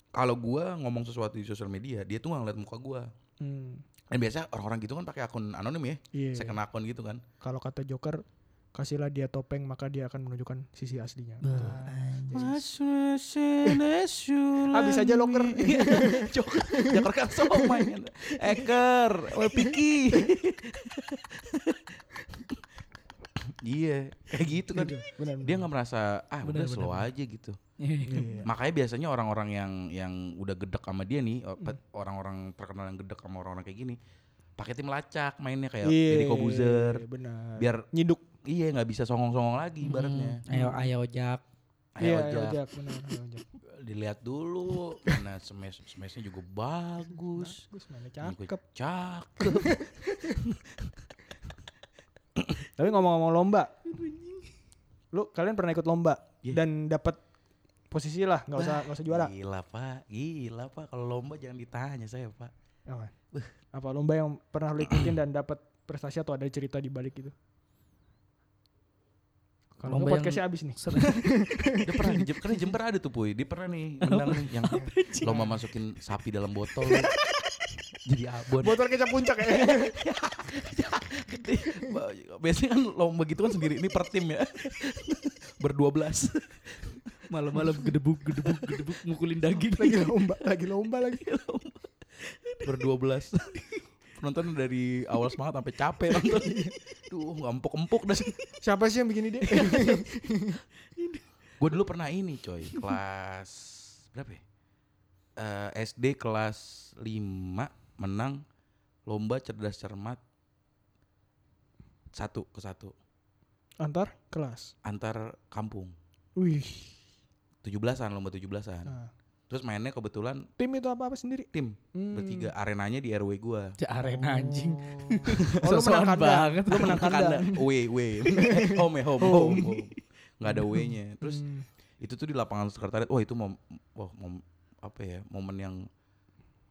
kalau gua ngomong sesuatu di sosial media dia tuh nggak ngeliat muka gua Hmm, dan biasa orang-orang gitu kan pakai akun anonim ya iya. second akun gitu kan kalau kata Joker kasihlah dia topeng maka dia akan menunjukkan sisi aslinya Iya. Gitu. habis aja loker Iya. Joker kan mainnya Eker oh, Piki Iya Kayak gitu kan benar Dia nggak merasa Ah Bener, udah bener, slow aja gitu Hmm. Iya. Makanya biasanya orang-orang yang yang udah gedek sama dia nih, or- Hmm. pe- orang-orang terkenal yang gedek sama orang-orang kayak gini, pakai tim lacak mainnya kayak Iya, Deddy Kobuzer, benar biar nyiduk iya nggak bisa songong-songong lagi ibaratnya. Ayo ayo Jak. Hmm. Ayo iya aja ojek benar ayo ojek dilihat dulu, mana smash smashnya juga bagus, Bagus, mana Ini gue cakep cakep. tapi ngomong-ngomong lomba lu kalian pernah ikut lomba Iya. dan dapat posisi lah nggak usah nggak usah juara Gila pak, gila pak, kalau lomba jangan ditanya saya pak. Apa? Apa lomba yang pernah lu ikutin dan dapat prestasi atau ada cerita di balik itu? Kalau nggak Lomba podcastnya abis nih. Dia pernah di Jem- karena di Jember ada tuh Puy, dia pernah nih menang nih yang lomba masukin sapi dalam botol. Jadi abon. Botol kecap puncak ya. Biasanya kan lomba gitu kan sendiri, ini per tim ya. Berdua belas. Malam-malam gedebuk gedebuk gedebuk mukulin daging. lagi lomba, lagi lomba lagi. Berdua belas. Penonton dari awal semangat sampai capek nonton. Duh, nggak empuk-empuk dah. Siapa sih yang bikin ide? Gue dulu pernah ini coy, kelas berapa ya? Eh, SD kelas 5 menang lomba cerdas cermat satu ke satu Antar kelas. antar kampung Wih. 17-an lomba 17-an Nah, terus mainnya kebetulan tim itu apa apa sendiri? tim Hmm. bertiga arenanya di RW gua Jak arena anjing. Oh, lu menang Sosokan kandang. banget. Lu menang kandang. away away home ya, home home, home. nggak ada away-nya terus Hmm. itu tuh di lapangan sekretariat wah itu mom wah mom apa ya momen yang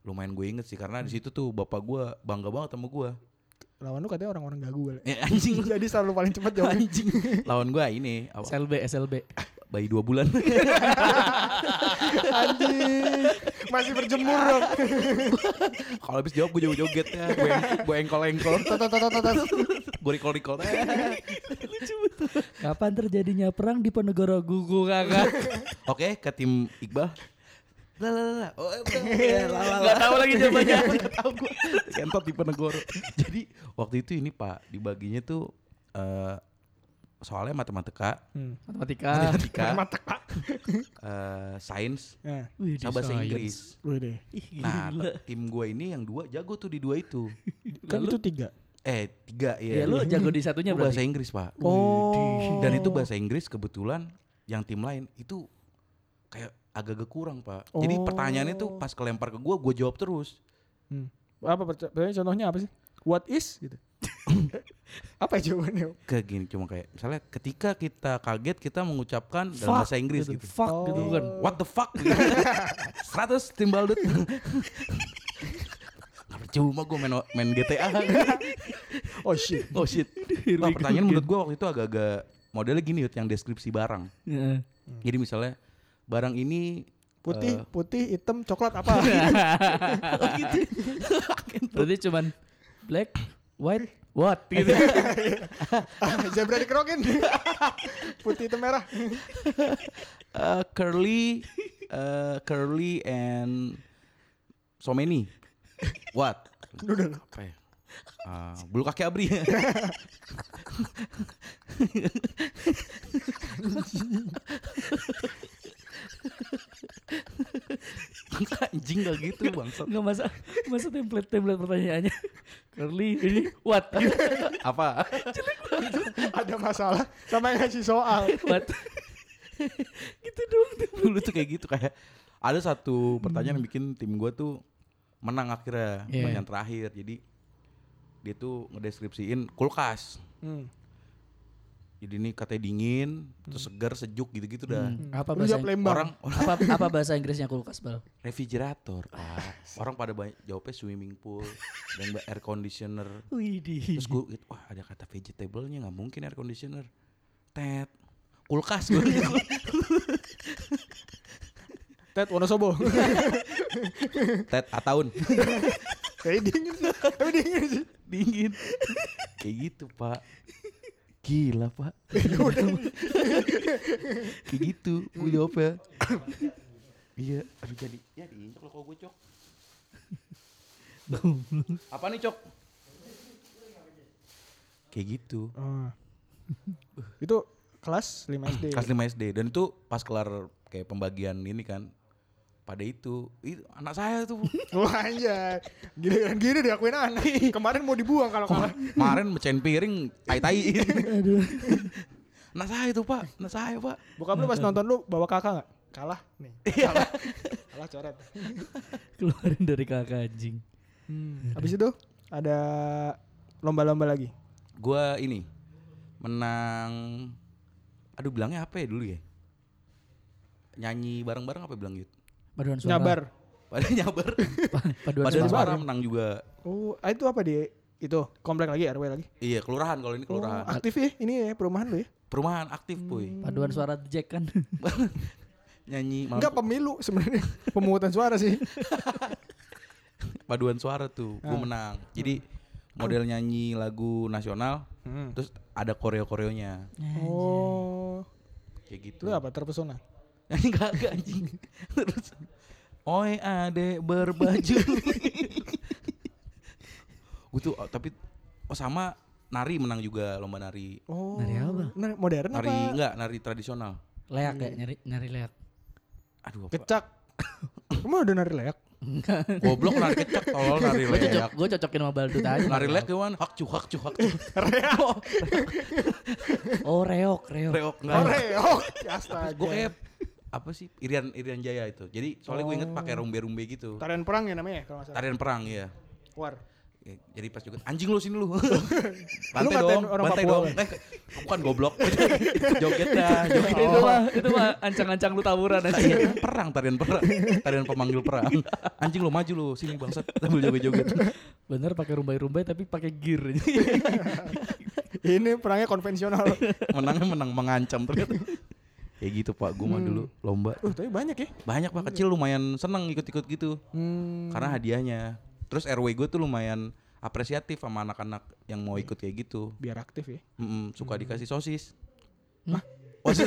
lumayan gue inget sih karena di situ tuh bapak gue bangga banget sama gue lawan lu katanya orang-orang gagu kali. eh, anjing Jadi selalu paling cepat jawabnya. anjing lawan gue ini apa, SLB SLB. bayi dua bulan Anjing. Masih berjemur dong. kalau habis jawab gue joget joget ya gue eng- gue engkol engkol Tot, tot, tot, tot, tot. gue recall recall Kapan terjadinya perang di Ponegoro Gugu kakak? oke ke tim iqbal la la la la oh, eh, eh, la, la, la. Gak tahu lagi jawabannya. Gak tahu gue Sentot di Penegoro Jadi waktu itu ini pak Dibaginya tuh eh Soalnya matematika Hmm. Matematika. Ah, Matematika eh, Sains Nah, Wih, Sama bahasa desain. Inggris lu deh. Ih, Nah gila. tim gue ini yang dua jago tuh di dua itu Kan itu tiga. Eh tiga ya ya lu jago di satunya Gua bahasa berarti. Inggris pak Oh. Dan itu bahasa Inggris kebetulan Yang tim lain itu Kayak agak-agak kurang pak Jadi Oh. pertanyaannya tuh pas kelempar ke gue Gue jawab terus Hmm. Apa perca- pertanyaan contohnya apa sih? What is gitu. apa ya jawabannya? Kayak gini cuma kayak Misalnya ketika kita kaget Kita mengucapkan dalam bahasa Inggris gitu Fuck gitu Oh. kan. What the fuck? 100 timbal dut. Gak percuma gue main, main GTA. Oh shit. oh shit. Wah, pertanyaan menurut gue waktu itu agak-agak modelnya gini Yud, yang deskripsi barang. Heeh. Jadi misalnya barang ini Putih, eh, putih, hitam, coklat apa? Oh, gitu. Berarti cuman black, white, what gitu. Ah, Zebra dikerokin. putih, hitam, merah. eh, curly eh, curly and so many. What? Udah Apa ya? Ah, bulu kaki abri anjing gak gitu bangsat Enggak masa masa template template pertanyaannya. Curly ini what? apa ada masalah sama yang ngasih soal. what? gitu dong. dulu tuh kayak gitu kayak ada satu pertanyaan yang bikin tim gua tuh menang akhirnya Iya. pertanyaan terakhir jadi dia tuh ngedeskripsiin kulkas Hmm. Jadi ini katanya dingin, terus segar, sejuk gitu-gitu dah. Hmm, Apa Lu bahasa jawab Lembang. Orang apa apa bahasa Inggrisnya kulkas bal? refrigerator, Pak. Orang pada banyak jawabnya swimming pool dan ba- air conditioner. Widih. Terus gue gitu, wah ada kata vegetable-nya nggak mungkin air conditioner. Tet. Kulkas gue. Ted Wonosobo. Tet ataun. Kayak gitu. dingin sih. Tapi dingin sih. Dingin. Kayak gitu, Pak. Gila, Pak. Kayak gitu, gue jawabnya. Iya, aduh jadi. Ya diinjak lo kalau gue cok. Apa nih cok? Kayak gitu. Ah. Itu kelas 5 SD. Kelas 5 SD dan itu pas kelar kayak pembagian ini kan pada itu, itu anak saya tuh Wah anjay. Giliran gini diakuin anak. Kemarin mau dibuang kalau kalah. kemarin mecahin piring tai tai anak saya tuh pak anak saya pak Bokap lu pas nonton lu bawa kakak Iya. gak? Kalah nih. Kalah. Kalah coret. Keluarin dari kakak anjing. Habis itu ada lomba-lomba lagi. gue ini menang aduh bilangnya apa ya dulu ya nyanyi bareng bareng apa bilang gitu Paduan suara. Nyabar. pada nyabar Pa- Paduan pada suara. suara menang juga Oh, ah, itu apa di itu komplek lagi RW lagi. iya kelurahan kalau Oh, ini kelurahan aktif ya ini ya perumahan lu ya. perumahan aktif puy Paduan suara Jack kan. nyanyi Enggak malam- pemilu sebenarnya pemungutan suara sih. paduan suara tuh Ah. gue menang jadi model nyanyi lagu nasional Hmm. terus ada koreo koreonya Oh, kayak lu gitu apa terpesona? Enggak, enggak Nah, anjing. Terus Oi adek berbaju. Gue tuh oh, tapi oh sama nari menang juga lomba nari. Oh, Nari apa? nari modern Nari apa? enggak, nari tradisional. Leak ya, nyari nyari leak. Aduh, apa? Kecak. Kamu ada nari leak? Goblok nari kecak tolol nari Gue cocok, leak. gue cocokin sama Baldut aja. Nari Iya, leak ya, gimana? Hak cu hak cu hak cu. Oh reok reok. Reok enggak. Koreok. Gue Astaga. kayak apa sih Irian Irian Jaya itu. Jadi soalnya gue inget pakai rumbe-rumbe gitu. Tarian perang ya namanya ya, kalau nggak salah. Oh. Tarian perang ya. War. Ya, Jadi pas juga anjing lu sini Lu lu. Bantai ngatain dong, orang bantai Papua, ya? dong. Eh, bukan goblok. joget dah, joget. Itu mah itu mah ancang-ancang lu tawuran aja. Tarian perang, tarian perang, tarian pemanggil perang. Anjing lu maju lu sini bangsat sambil joget-joget. Bener pakai rumbai-rumbai tapi pakai gear. Ini perangnya konvensional. Menangnya menang mengancam ternyata. Kayak gitu Pak, gua mah dulu lomba. uh, tapi banyak ya. Banyak Pak kecil lumayan seneng ikut-ikut gitu Hmm. karena hadiahnya. Terus RW gue tuh lumayan apresiatif sama anak-anak yang mau ikut kayak gitu. Biar aktif ya. Mm-mm, suka dikasih sosis. Hah? Oh, sih,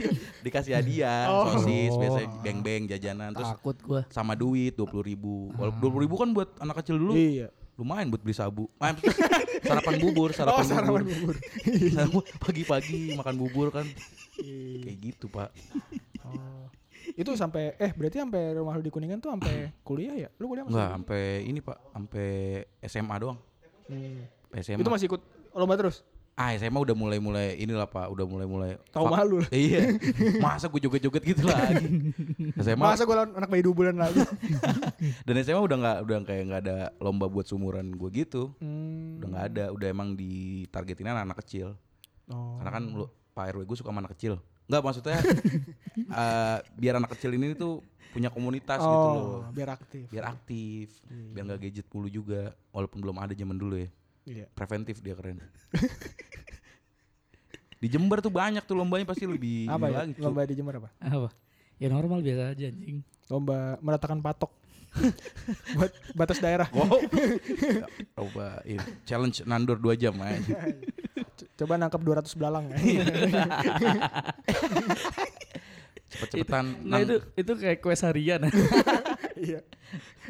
dikasih hadiah Oh. sosis biasanya beng-beng jajanan terus Takut gue. sama duit dua puluh ribu. Dua puluh ribu kan buat anak kecil dulu Hmm. Iya. lumayan buat beli sabu. Ah, sarapan bubur, Oh, sarapan, sarapan bubur. bubur. Sarapan- Pagi-pagi makan bubur kan Iya. kayak gitu pak. Oh. Itu sampai eh berarti sampai rumah lu di Kuningan tuh sampai kuliah ya? Lu kuliah Enggak masih? sampai ini pak, sampai SMA doang. Hmm. SMA. Itu masih ikut lomba terus. Ah SMA udah mulai-mulai inilah pak, udah mulai-mulai. Tahu Fa- malu lah. Iya. Masa gue joget-joget gitu lagi. SMA Masa gue lawan anak bayi dubulan lagi. dan SMA udah nggak udah kayak nggak ada lomba buat sumuran gue gitu Hmm. udah nggak ada udah emang ditargetin anak, anak kecil Oh. karena kan lu, Pak RW gue suka sama anak kecil nggak maksudnya eh, biar anak kecil ini tuh punya komunitas gitu loh Oh, biar aktif. biar aktif biar nggak gadget mulu juga walaupun belum ada zaman dulu ya Iya. preventif dia keren di Jember tuh banyak tuh lombanya pasti lebih Apa ini ya? Iya lagi, cu. Lomba di Jember apa? Apa? Ya normal biasa aja anjing. Lomba meratakan patok. Buat batas daerah. Wow. Ya, Coba iya. challenge nandur 2 jam eh. aja. C- Coba nangkap 200 belalang ya. Iya. Cepet-cepetan. Nah nang- itu itu kayak quest harian. Iya.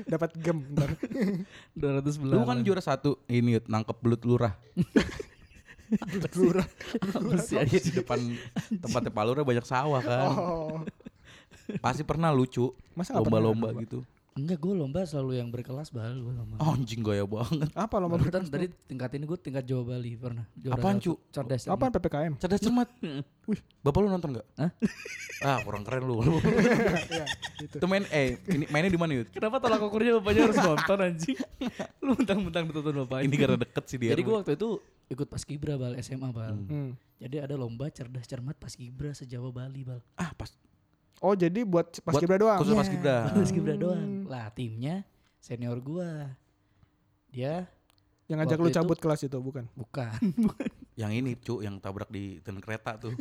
Dapat gem ntar. 200 belas. Lu kan juara satu ini Yud, nangkep belut lurah Lurah. Apa sih Iya, di anjing? depan tempatnya Pak Lurah banyak sawah kan. Oh. Pasti pernah lucu Masa nggak pernah lomba-lomba lomba? gitu. Enggak gue lomba selalu yang berkelas bal gue lomba. Oh, anjing gaya banget. Apa lomba? Baru kan dari tingkat ini gue tingkat Jawa Bali pernah. Juara Apaan, satu, Cerdas. Apaan PPKM? Cerdas cermat. Wih, Bapak lu nonton nggak? Hah? Ah, kurang keren lu. Iya, gitu. Itu main eh ini mainnya di mana, Yud? Kenapa tolak ukurnya bapaknya harus nonton anjing? Lu mentang-mentang nonton bapaknya. Ini gara deket sih dia. Jadi gue waktu itu ikut paskibra bal SMA bal. Hmm. Hmm. Jadi ada lomba cerdas cermat paskibra sejawa Bali bal. Ah pas Oh jadi buat Ah, pas Buat kibra doang. khusus paskibra. Buat paskibra doang. Hmm. Lah timnya senior gua. Dia Yang ngajak lu waktu itu- cabut kelas itu bukan? bukan Yang ini cu yang tabrak di ten kereta tuh.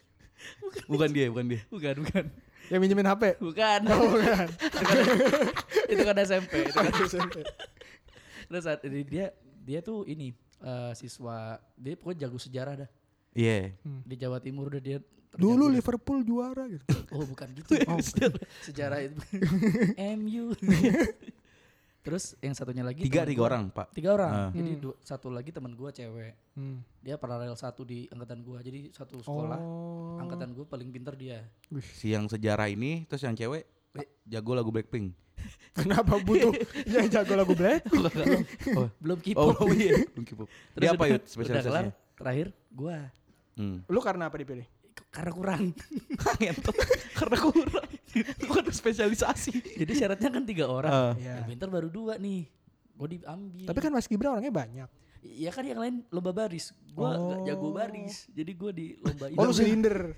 bukan dia, bukan dia. bukan bukan Yang minjemin HP. bukan. Oh, bukan. itu kan SMP. Itu kan SMP. Terus saat ini dia dia tuh ini eh, siswa dia pokoknya jago sejarah dah Iya. di Jawa Timur udah dia terjago Dulu dah. Liverpool juara gitu. oh bukan gitu oh, bukan. sejarah itu MU terus yang satunya lagi Tiga temen tiga Gitu, gua- orang pak. tiga orang Ah. jadi Hmm. dua- satu lagi teman gua cewek Hmm. dia paralel satu di angkatan gua jadi satu sekolah Oh. angkatan gua paling pinter dia Wih, Si yang sejarah ini terus yang cewek jago lagu Blackpink. Kenapa butuh yang jago lagu black? oh, belum oh, kipok iya. K-pop. Dia udah apa yuk kelar spesialisasinya? terakhir gua Hmm. Lu karena apa dipilih? karena kurang karena kurang bukan spesialisasi jadi syaratnya kan tiga orang Ah. Iya. yang pinter baru dua nih gue diambil Tapi kan Mas Gibra orangnya banyak. Iya kan yang lain lomba baris. Gua nggak jago baris. Jadi gua di lomba Oh lu silinder.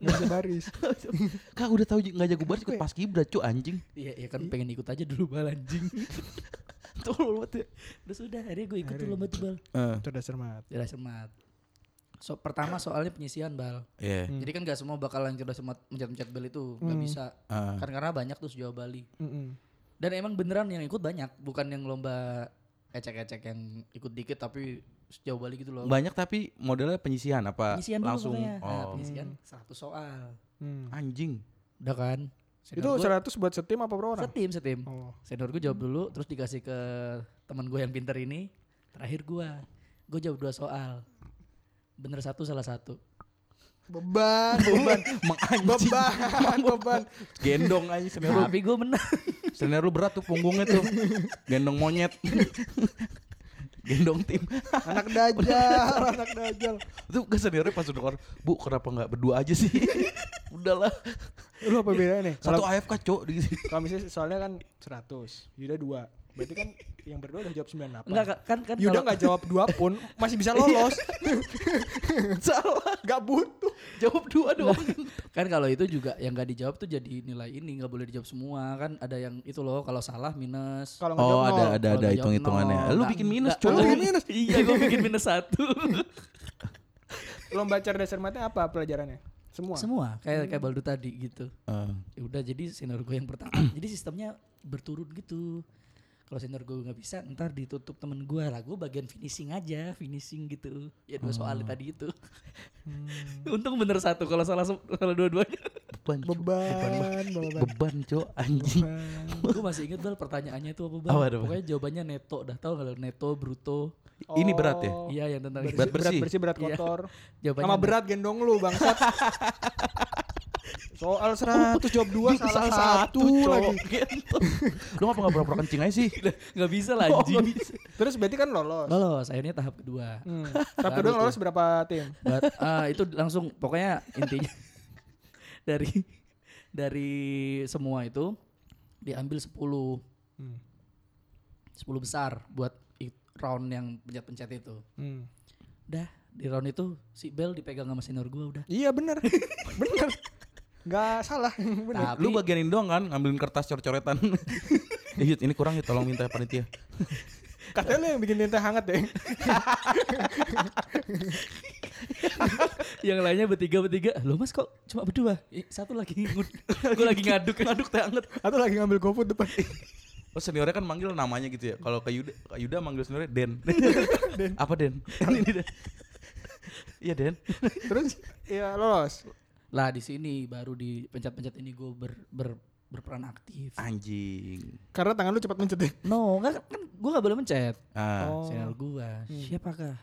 Iya. Nggak bisa baris. Kak udah tahu j- nggak jago banget ikut pas kibra cu anjing. Iya, iya kan pengen ikut aja dulu bal anjing. Tolol banget. ya. Terus udah akhirnya gue ikut tuh Akhirnya. lomba tuh bal. Eh. Cerdas cermat. Cerdas semat. So, pertama soalnya penyisian bal. Iya. Hmm. Jadi kan gak semua bakalan cerdas semat mencet-mencet bel itu nggak Hmm. bisa. Ah. Kan karena banyak tuh sejauh Bali. Mm-mm. Dan emang beneran yang ikut banyak, bukan yang lomba ecek-ecek yang ikut dikit tapi sejauh Bali gitu loh. Banyak tapi modelnya penyisihan apa Penyisian dulu langsung pokoknya. Nah, oh. penyisian 100 soal. Hmm. anjing. Udah kan? Itu Senior gua- 100 buat setim apa per orang? Setim, setim. Oh. Senior gue jawab dulu, terus dikasih ke teman gue yang pinter ini. Terakhir gue, gue jawab dua soal. Bener satu salah satu. Beban, beban, beban, beban. Gendong anjing senior lu. Tapi gue menang. Senior lu berat tuh punggungnya tuh. Gendong monyet. Gendong tim. Anak dajal, anak dajal. Itu ke seniornya pas udah keluar, "Bu, kenapa nggak berdua aja sih?" Udahlah. Lu apa bedanya nih? Satu Kalau AFK, Cok. di sini. kalau misalnya soalnya kan 100, Yuda 2. Berarti kan yang berdua udah jawab 98. Enggak Kak. kan kan Yuda kalau- nggak jawab dua pun masih bisa lolos. Salah. Nggak butuh. Jawab dua doang. kan kalau itu juga yang gak dijawab tuh jadi nilai ini nggak boleh dijawab semua kan ada yang itu loh kalau salah minus Kalau nggak Oh, jawab nol. ada ada ada Kalau jawab hitung-hitungannya. nol. Lu Nggak- bikin minus, nggak- Cok. nggak- Lu bikin minus. iya gue bikin minus satu Lomba cerdas cermatnya apa pelajarannya? Semua. semua kayak kayak baldu tadi gitu Heeh. ya udah jadi senior gue yang pertama jadi sistemnya berturut gitu kalau senior gue nggak bisa ntar ditutup temen gue lah gue bagian finishing aja finishing gitu ya dua soal tadi itu untung bener satu kalau salah se- salah dua-duanya Beban, Cok. Beban, beban. Beban, Cok. Anjing. gue Hmm. masih inget bal pertanyaannya itu apa bal Apa, apa? pokoknya jawabannya neto dah tau nggak lo, neto bruto Ini berat ya? Oh. iya yang tentang Berat bersih. berat bersih, berat Iya. kotor. jawabannya Sama net- berat gendong lu bangsat. Oh, Soal 100 jawab 2 salah, satu, lagi. Gitu. Lu ngapa nggak pura-pura kencing aja sih? nggak bisa lah anjing Terus berarti kan lolos. lolos akhirnya tahap kedua Hmm. Tapi doang lolos berapa tim? But, ah, itu langsung pokoknya intinya dari dari semua itu diambil 10 Hmm. 10 besar buat i- round yang pencet-pencet itu. Hmm. Dah, di round itu si Bel dipegang sama senior gua udah. Iya bener Bener Gak salah Bener Tapi Lu bagianin doang kan ngambilin kertas coret-coretan. Ya, Yud, ini kurang ya tolong minta panitia. Katanya lu yang bikin lintah hangat ya? deh yang lainnya bertiga bertiga. Lo Mas kok cuma berdua? "Ih, Satu lagi ngud- gua lagi ngaduk ngaduk teh anget. Atau lagi ngambil GoFood depan Oh seniornya kan manggil namanya gitu ya. Kalau ke Yuda, Kak Yuda manggil seniornya Den. Apa Den? Kan Ini Den. Iya Den. Terus Ya lolos Lah di sini baru di pencet-pencet ini gua ber, ber- berperan aktif. Anjing. Karena tangan lu cepat mencet ya. deh No, enggak kan gua nggak boleh mencet. Ah. Oh. Senior gua. Hmm. Siapakah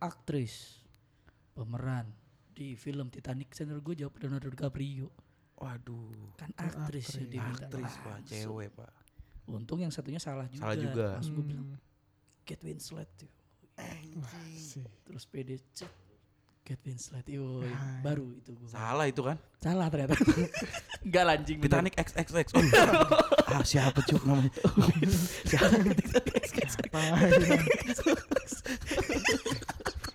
aktris pemeran di film Titanic? Senior gua jawab Leonardo DiCaprio. Waduh. Kan Oh, aktris, yang diminta Aktris langsung. pak, cewek pak. Untung yang satunya salah juga. Salah juga. Pas gua bilang Hmm. Kate Winslet. yuk." Sih. Terus PD cek Kate Winslet. Yoi, Hai. baru itu gua. Salah itu kan? Salah ternyata. Enggak lanjing bener. Titanic XXX. Oh, ah siapa cuk namanya? Siapa? Apa?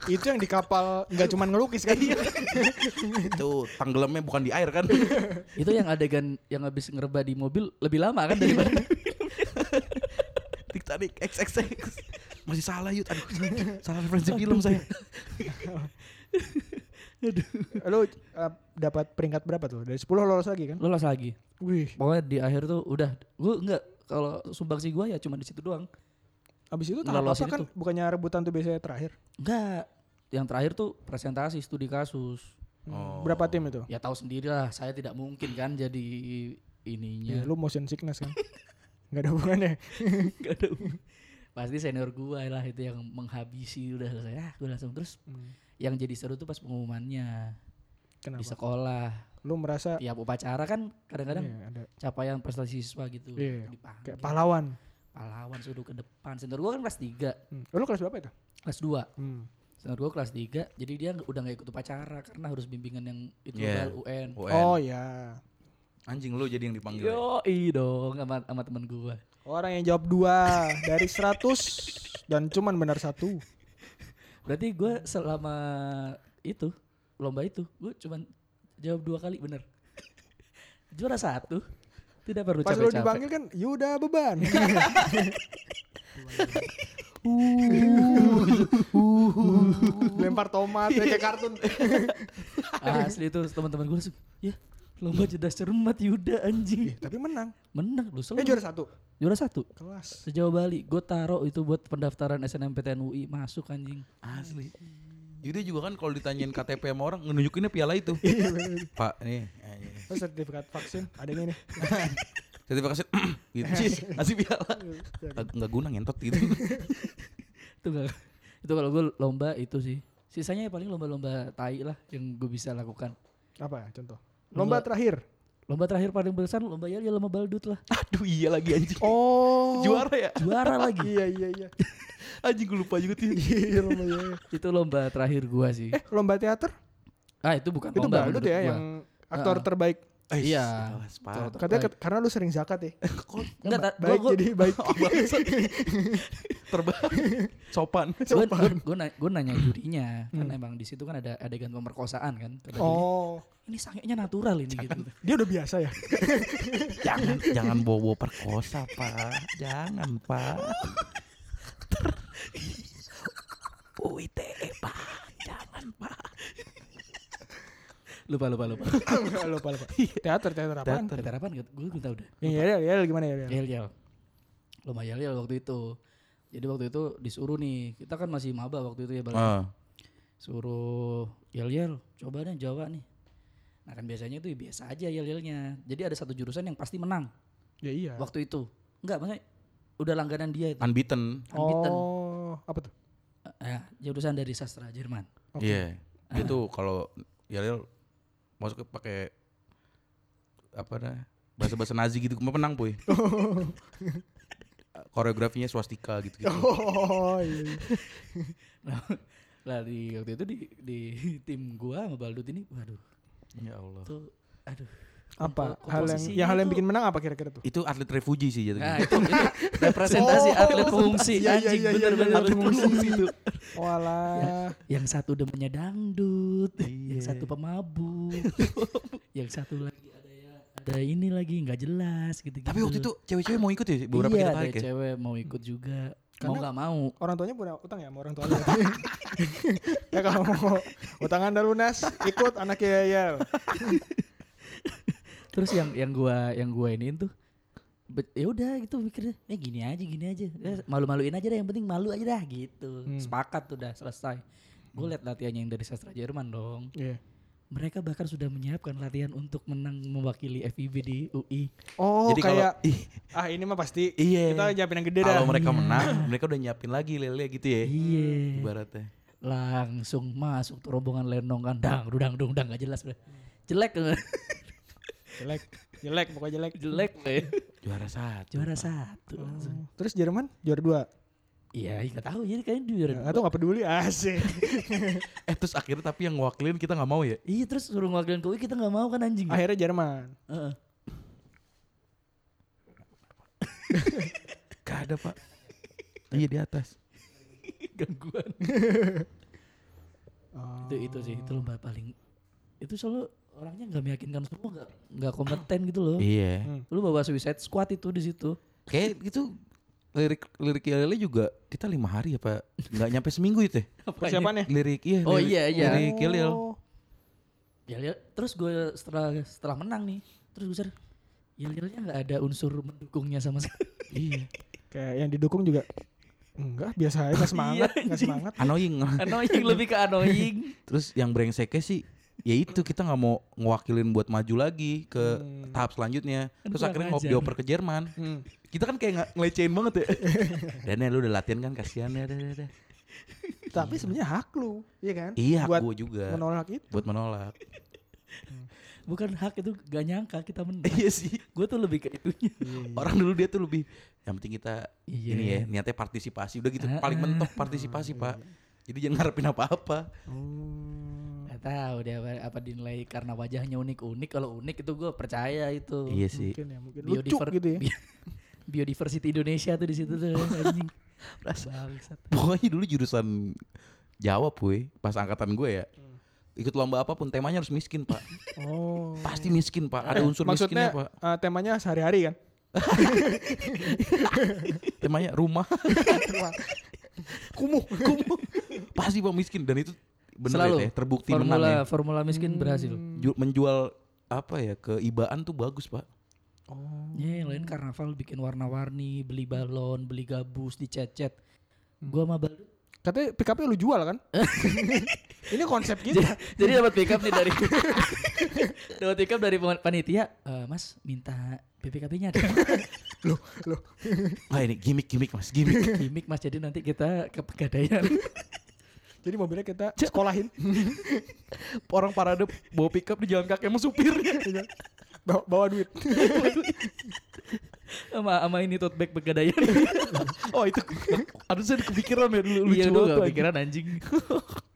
itu yang di kapal nggak cuman ngelukis kan Itu tenggelamnya bukan di air kan? Itu yang adegan yang habis ngerba di mobil lebih lama kan daripada Titanic XXX. Masih salah yut. Aduh, salah referensi film saya. lo eh, dapat peringkat berapa tuh dari 10 lolos lagi kan lolos lagi. wih Pokoknya di akhir tuh udah gue enggak kalau sumbangsi gue ya cuma di situ doang. abis itu tahap Ngelolosin apa kan bukannya rebutan tuh biasanya terakhir Enggak. Yang terakhir tuh presentasi studi kasus. Hmm, berapa tim itu Ya tahu sendiri lah, saya tidak mungkin kan jadi Ya, ininya. lu motion sickness kan nggak ada hubungannya Nggak ada hubung- Pasti senior gue lah itu yang menghabisi udah selesai. Ah, gue langsung terus Hmm, yang jadi seru tuh pas pengumumannya kenapa di sekolah. lu merasa Tiap upacara kan kadang-kadang Iya, ada capaian prestasi siswa gitu. Iya, dipanggil. kayak pahlawan Pahlawan suruh ke depan. Senior gue kan kelas 3, hmm. lu kelas berapa itu kelas 2. hmm. Senior gue kelas 3, jadi dia nggak- udah gak ikut upacara karena harus bimbingan yang itu Iya. UN. UN. oh ya Anjing lu jadi yang dipanggil. ya? Yo, i dong sama sama temen gue. orang yang jawab dua dari 100 dan cuman benar satu Berarti gue selama itu lomba itu gue cuman jawab dua kali bener. Juara satu, tidak perlu pas lu capek-capek. dipanggil kan Yuda beban lempar tomat ya, kayak kartun Asli itu teman-teman gue langsung, ya lomba jeda cermat Yuda anjing. tapi menang Menang Iya. eh lu selalu. juara satu juara satu. kelas Sejauh Bali, gue taruh itu buat pendaftaran SNMPTN UI masuk anjing. Asli. Yuda juga kan kalau ditanyain KTP sama orang nunjukinnya piala itu. Pak, nih. eh, Terus sertifikat vaksin adanya nih Sertifikasi gitu. Cis, ngasih piala. Nggak- Nggak guna ngentot gitu. Itu gak, itu kalau gue lomba itu sih. Sisanya ya paling lomba-lomba tai lah yang gue bisa lakukan. apa ya contoh lomba Lomba- terakhir Lomba terakhir paling besar lomba ya ya lomba baldut lah. Aduh iya lagi anjing. oh Juara ya? Juara lagi. iya iya iya Anjing gue lupa juga tuh. iya lomba iya, iya. Itu lomba terakhir gua sih. eh lomba teater Ah itu bukan itu lomba baru menurut ya gua. yang aktor Heeh. terbaik Eh, Iya. awas, parah. Aktor katanya ket- karena lu sering zakat ya Enggak, ta- gua, baik gua, jadi baik Terbaik. Sopan. gua, gua, gua na- gua nanya jurinya kan emang di situ kan ada adegan pemerkosaan kan Kata jurinya, Hmm. oh ini sangenya natural ini gitu dia udah biasa ya jangan jangan bobo perkosa pak jangan pak eh. UITE pak jangan pak lupa lupa lupa Enggak, lupa lupa teater teater apaan Teater Iya. apaan gitu gue minta udah yang yel yel gimana yel yel yel yel lomba yel yel waktu itu jadi waktu itu disuruh nih kita kan masih maba waktu itu ya Bal. Ah. suruh yel yel coba deh Jawa nih nah kan biasanya itu biasa aja yel yelnya jadi ada satu jurusan yang pasti menang ya iya waktu itu enggak maksudnya udah langganan dia itu unbeaten unbeaten. oh apa tuh Eh, jurusan dari sastra Jerman Oke. iya itu kalau ya, Yalil masuknya pakai apa dah bahasa bahasa Nazi gitu cuma menang puy koreografinya swastika gitu gitu oh iya iya. Nah, lah di waktu itu di, di tim gua sama Baldut ini waduh ya Allah tuh aduh apa Kompo- hal yang komposisinya ya hal yang tuh- bikin menang apa kira-kira tuh itu atlet refugee sih nah jatuhnya itu, itu representasi Oh, atlet fungsi iya, iya, anjing iya, iya, bener-bener atlet atlet fungsi itu walah yang satu demennya dangdut Iya. yang satu pemabuk yang satu lagi ada ya ada ini lagi nggak jelas gitu tapi waktu itu cewek-cewek mau ikut ya beberapa iya, kita ada tarik ya cewek mau ikut juga mau Karena- nggak mau orang tuanya punya utang ya sama orang tuanya ya kalau mau utang anda lunas ikut anaknya ya ya terus yang yang gua yang gua ini tuh be- ya udah gitu mikirnya eh gini aja gini aja Eh, malu-maluin aja dah yang penting malu aja dah gitu Hmm. sepakat tuh dah selesai gue liat latihannya yang dari sastra Jerman dong Iya. mereka bahkan sudah menyiapkan latihan untuk menang mewakili FIB di UI oh Jadi kalau- kayak ah ini mah pasti Iya. kita Iya. nyiapin yang gede dah Kalau mereka menang, mereka udah nyiapin lagi lele gitu ya. iya Ibaratnya. langsung masuk tuh rombongan lenong kan dang dudang dung dang gak jelas udah. jelek eh. jelek jelek pokoknya jelek jelek eh. Juara satu. juara satu langsung. terus Jerman juara dua iya nggak tahu jadi kayaknya juara Nah, atau nggak peduli asik Eh terus akhirnya tapi yang ngewakilin kita nggak mau ya. iya terus suruh ngewakilin ke UI kita nggak mau kan anjing akhirnya Jerman Heeh. Gak ada pak. Iya di atas. gangguan itu itu sih itu lomba paling itu selalu orangnya nggak meyakinkan semua nggak nggak kompeten gitu loh Iya. Hmm. lu bawa Suicide Squad itu di situ Kayak gitu lirik lirik Yalele juga kita lima hari apa nggak nyampe seminggu itu ya? Persiapannya? lirik iya Oh, lirik- iya, iya. lirik Yalil Oh. ya lihat terus gue setelah setelah menang nih terus gue sadar ya lihatnya nggak ada unsur mendukungnya sama sekali iya Kayak yang didukung juga enggak biasa aja nggak semangat nggak semangat annoying annoying lebih ke annoying terus yang brengseknya sih ya itu kita nggak mau ngewakilin buat maju lagi ke Hmm. tahap selanjutnya terus kurang akhirnya ngop ajar. dioper ke Jerman Hmm. kita kan kayak nggak ngelecehin banget ya dan ya lu udah latihan kan kasihan ya dah, dah, dah. tapi sebenarnya hak lu iya kan iya buat gue juga menolak itu buat menolak bukan hak itu gak nyangka kita menang iya sih gue tuh lebih ke itunya orang dulu dia tuh lebih yang penting kita Iya. ini ya niatnya partisipasi udah gitu Ah, paling ah. mentok partisipasi pak Iya, jadi jangan ngarepin apa-apa Oh. Gak tahu deh apa, apa dinilai karena wajahnya unik-unik. Kalau unik itu gue percaya itu. iya sih mungkin ya mungkin lucu Biodiver- gitu ya bi- biodiversity Indonesia tuh di situ tuh anjing. Rasa- Bangsat. pokoknya dulu jurusan Jawa puy pas angkatan gue ya Hmm. ikut lomba apapun temanya harus miskin pak oh pasti miskin pak ada unsur maksudnya miskinnya pak eh, temanya sehari-hari kan temanya rumah kumuh kumuh pasti pak miskin dan itu bener Selalu. ya, Teh, terbukti menang Formula ya. formula Hmm. miskin berhasil. Ju- menjual apa ya keibaan tuh bagus pak oh Ya, yang lain karnaval bikin warna-warni, beli balon, beli gabus, dicecet. Hmm. Gua sama Baldu. katanya pick up-nya lu jual kan ini konsep kita Jadi dapat pickup nih dari dapat pickup dari pan- panitia. "Eh, mas minta BPKB-nya ada. loh loh ah ini gimmick gimmick mas gimmick Gimik Mas jadi nanti kita ke pegadaian. jadi mobilnya kita sekolahin orang parade bawa pickup di jalan kaki emang supirnya bawa, bawa duit sama sama ini tote bag pegadaian. oh itu harusnya di kepikiran ya dulu Iya lu banget gak tuh, pikiran anjing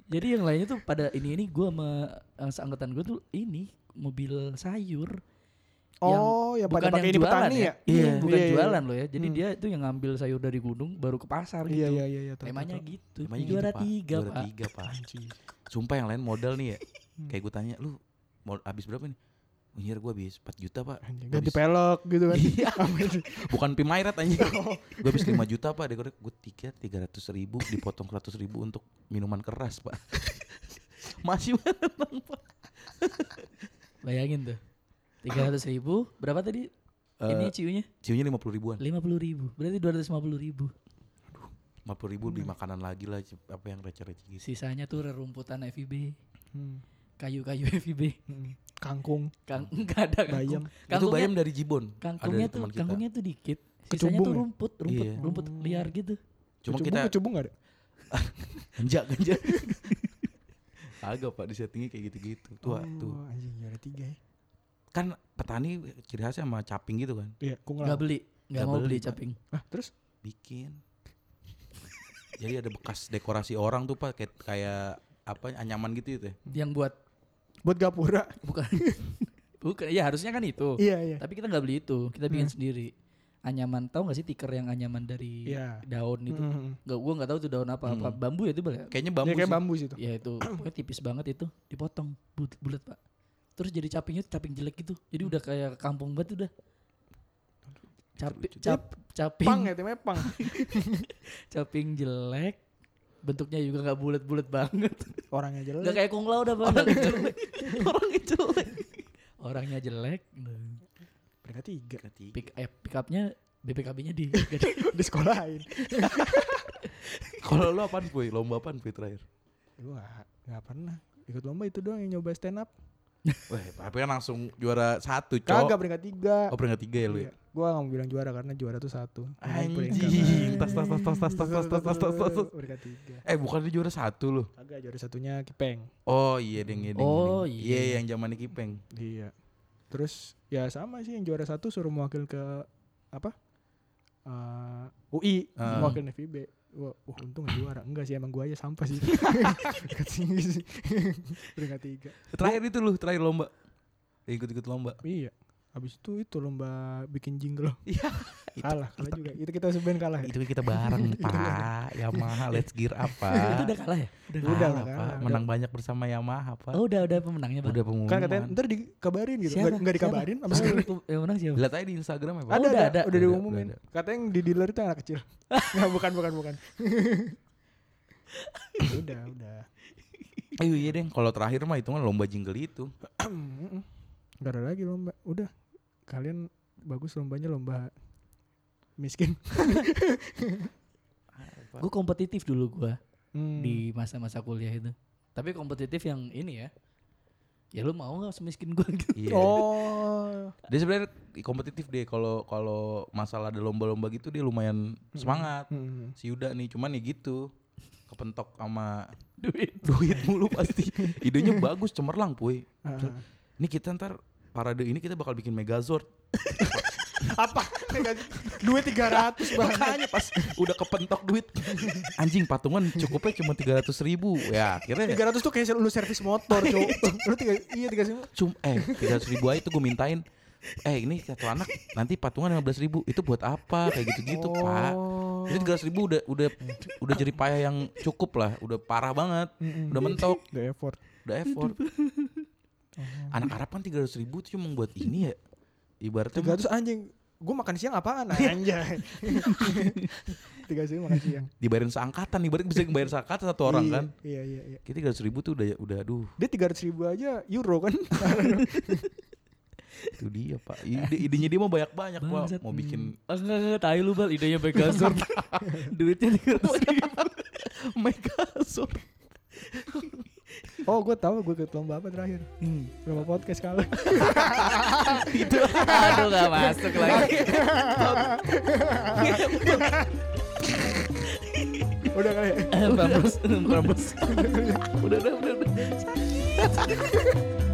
Jadi yang lainnya tuh pada ini ini gue sama eh, seangkatan gue tuh ini mobil sayur oh ya pada pakai ini petani ya, Iya, Iya. bukan Iya, iya. jualan loh ya. Jadi Hmm. dia itu yang ngambil sayur dari gunung baru ke pasar gitu. iya iya iya iya tahu, tahu, Temanya tahu. gitu. Namanya gitu, juara Pak. tiga, juara Pak. Hmm. tiga pak Anjing. sumpah yang lain modal nih ya kayak gue tanya lu mau habis berapa nih Anjir gue habis 4 juta pak Anjing, Gua ganti habis- pelek gitu kan Iya. Apa itu? Bukan pimairat anjing Oh. Gue habis 5 juta pak Gue gue tiga 300 ribu Dipotong 100 ribu untuk minuman keras pak Masih banget pak Bayangin tuh. 300 ribu, berapa tadi? ini Eh, ciunya? Ciumnya 50 ribuan 50 ribu. Berarti 250 ribu. 50 ribu Hmm. beli makanan lagi lah Apa yang receh-receh gitu Sisanya tuh rerumputan FIB. Hmm, Kayu-kayu FIB. hmm. kangkung Kang, enggak ada bayam kangkung. Itu Kangkungnya bayam dari Jibon Kangkungnya dari tuh teman kita. kangkungnya tuh dikit. Sisanya Kecumbung tuh ya? rumput, rumput, Iya. rumput liar gitu. Cuma Kecubung, kita kecubung gak ada Ganja ganja Agak pak di settingnya kayak gitu-gitu Tuh, tuh. Oh, anjing juara tiga ya Kan petani ciri khasnya sama caping gitu kan iya kung Gak laut. beli, gak Nggak mau beli, beli Pak. caping. ah terus bikin jadi ada bekas dekorasi orang tuh pak kayak kayak apa anyaman gitu ya teh Yang buat buat gapura bukan bukan ya harusnya kan itu. iya iya Tapi kita nggak beli itu, kita Hmm. bikin sendiri. Anyaman tahu gak sih tiker yang anyaman dari Iya. daun itu? Mm-mm. Nggak, gua nggak tahu itu daun apa, apa Hmm. bambu ya itu boleh. kayaknya Ya, bambu kayak sih. Iya. bambu sih itu Ya itu pokoknya tipis banget itu, dipotong bulat, bulat pak. Terus jadi capingnya tuh caping jelek gitu, jadi udah kayak kampung banget udah. Capi, Lucu. cap, caping. pang ya temanya pang caping jelek bentuknya juga nggak bulat-bulat banget orangnya nggak jelek kayak kung lao dah Bang. orangnya jelek orangnya jelek orangnya jelek peringkat tiga Berarti pick eh, pick upnya BPKB-nya di di sekolah lain kalau lu apaan puy lomba apaan puy terakhir gua nggak pernah ikut lomba itu doang yang nyoba stand up wah tapi kan langsung juara satu kagak cowok peringkat tiga oh peringkat tiga ya lu Iya. ya gua nggak mau bilang juara karena juara tuh satu Ngomong anjing tas tas tas tas tas tas tas tas tas tas tas tas. peringkat tiga eh bukan dia juara satu lu kagak juara satunya kipeng oh iya deng iya deng Oh, deng. iya. yang zaman kipeng iya terus ya sama sih yang juara satu suruh mewakil ke apa Eh, UI Ah. mewakil FIB Wah, wah, untung gak juara Enggak sih emang gua aja sampah sih Peringkat tinggi sih Peringkat tiga terakhir itu lu terakhir lomba ikut ikut lomba Iya Habis itu itu lomba bikin jingle. Iya. kalah, kalah juga. Itu kita sebenarnya kalah. Ya? Itu kita bareng Pak Yamaha Let's Gear Itu apa? udah kalah ya? Udah. Udah lah, Pak. kalah. Menang banyak bersama Yamaha Pak. Oh, udah udah pemenangnya, Bang. Udah pengumuman. Kan katanya ntar dikabarin gitu. Siapa? Enggak dikabarin Siapa? apa sih? Siapa? Yang menang siapa? Lihat aja di Instagram ya Pak. Ada, udah ada, ada. udah, Udah, diumumin. udah Katanya yang di dealer itu anak kecil. Enggak, bukan, bukan, bukan. udah, udah. Ayo iya deh, kalau terakhir mah hitungan lomba jingle itu. Gak ada lagi lomba. Udah. Kalian bagus lombanya lomba miskin. Gue kompetitif dulu gua Hmm. di masa-masa kuliah itu. Tapi kompetitif yang ini ya. Ya lu mau nggak semiskin gua gitu. Iya. Oh. Dia sebenarnya kompetitif deh kalau kalau masalah ada lomba-lomba gitu dia lumayan semangat. Hmm. Si Yuda nih cuman ya gitu. Kepentok sama Duit. duit mulu pasti. Idenya bagus cemerlang, puy. Ah. Ini kita ntar parade ini kita bakal bikin Megazord. apa duit tiga ratus Makanya pas udah kepentok duit anjing patungan cukupnya cuma 300 ribu ya akhirnya tiga ratus tuh kayak lu servis motor cowok lu tiga iya tiga ratus cum eh 300 ribu aja tuh gue mintain eh ini satu anak nanti patungan 15 ribu itu buat apa kayak gitu-gitu Oh. Gitu, pak itu 300 ribu udah udah udah jadi payah yang cukup lah udah parah banget udah mentok gak effort udah effort anak Arab kan 300 ribu tuh cuma buat ini ya ibaratnya tiga ratus anjing gue makan siang apaan anjay Iya. tiga ratus makan siang dibayarin seangkatan ibaratnya bisa dibayar seangkatan satu orang Iya, kan iya iya iya kita 300 ribu tuh udah udah aduh dia tiga ratus ribu aja euro kan Itu dia pak Ide, Idenya dia mau banyak-banyak pak Bangsat. Hmm. Mau bikin Enggak enggak tai lu bal idenya Megazord. Duitnya 300 ribu. Megazord oh gue tahu gue ikut lomba apa terakhir Hmm. lomba podcast kalah Itu aduh gak masuk lagi. udah kali ya? Bambus, bambus. Udah udah udah, udah.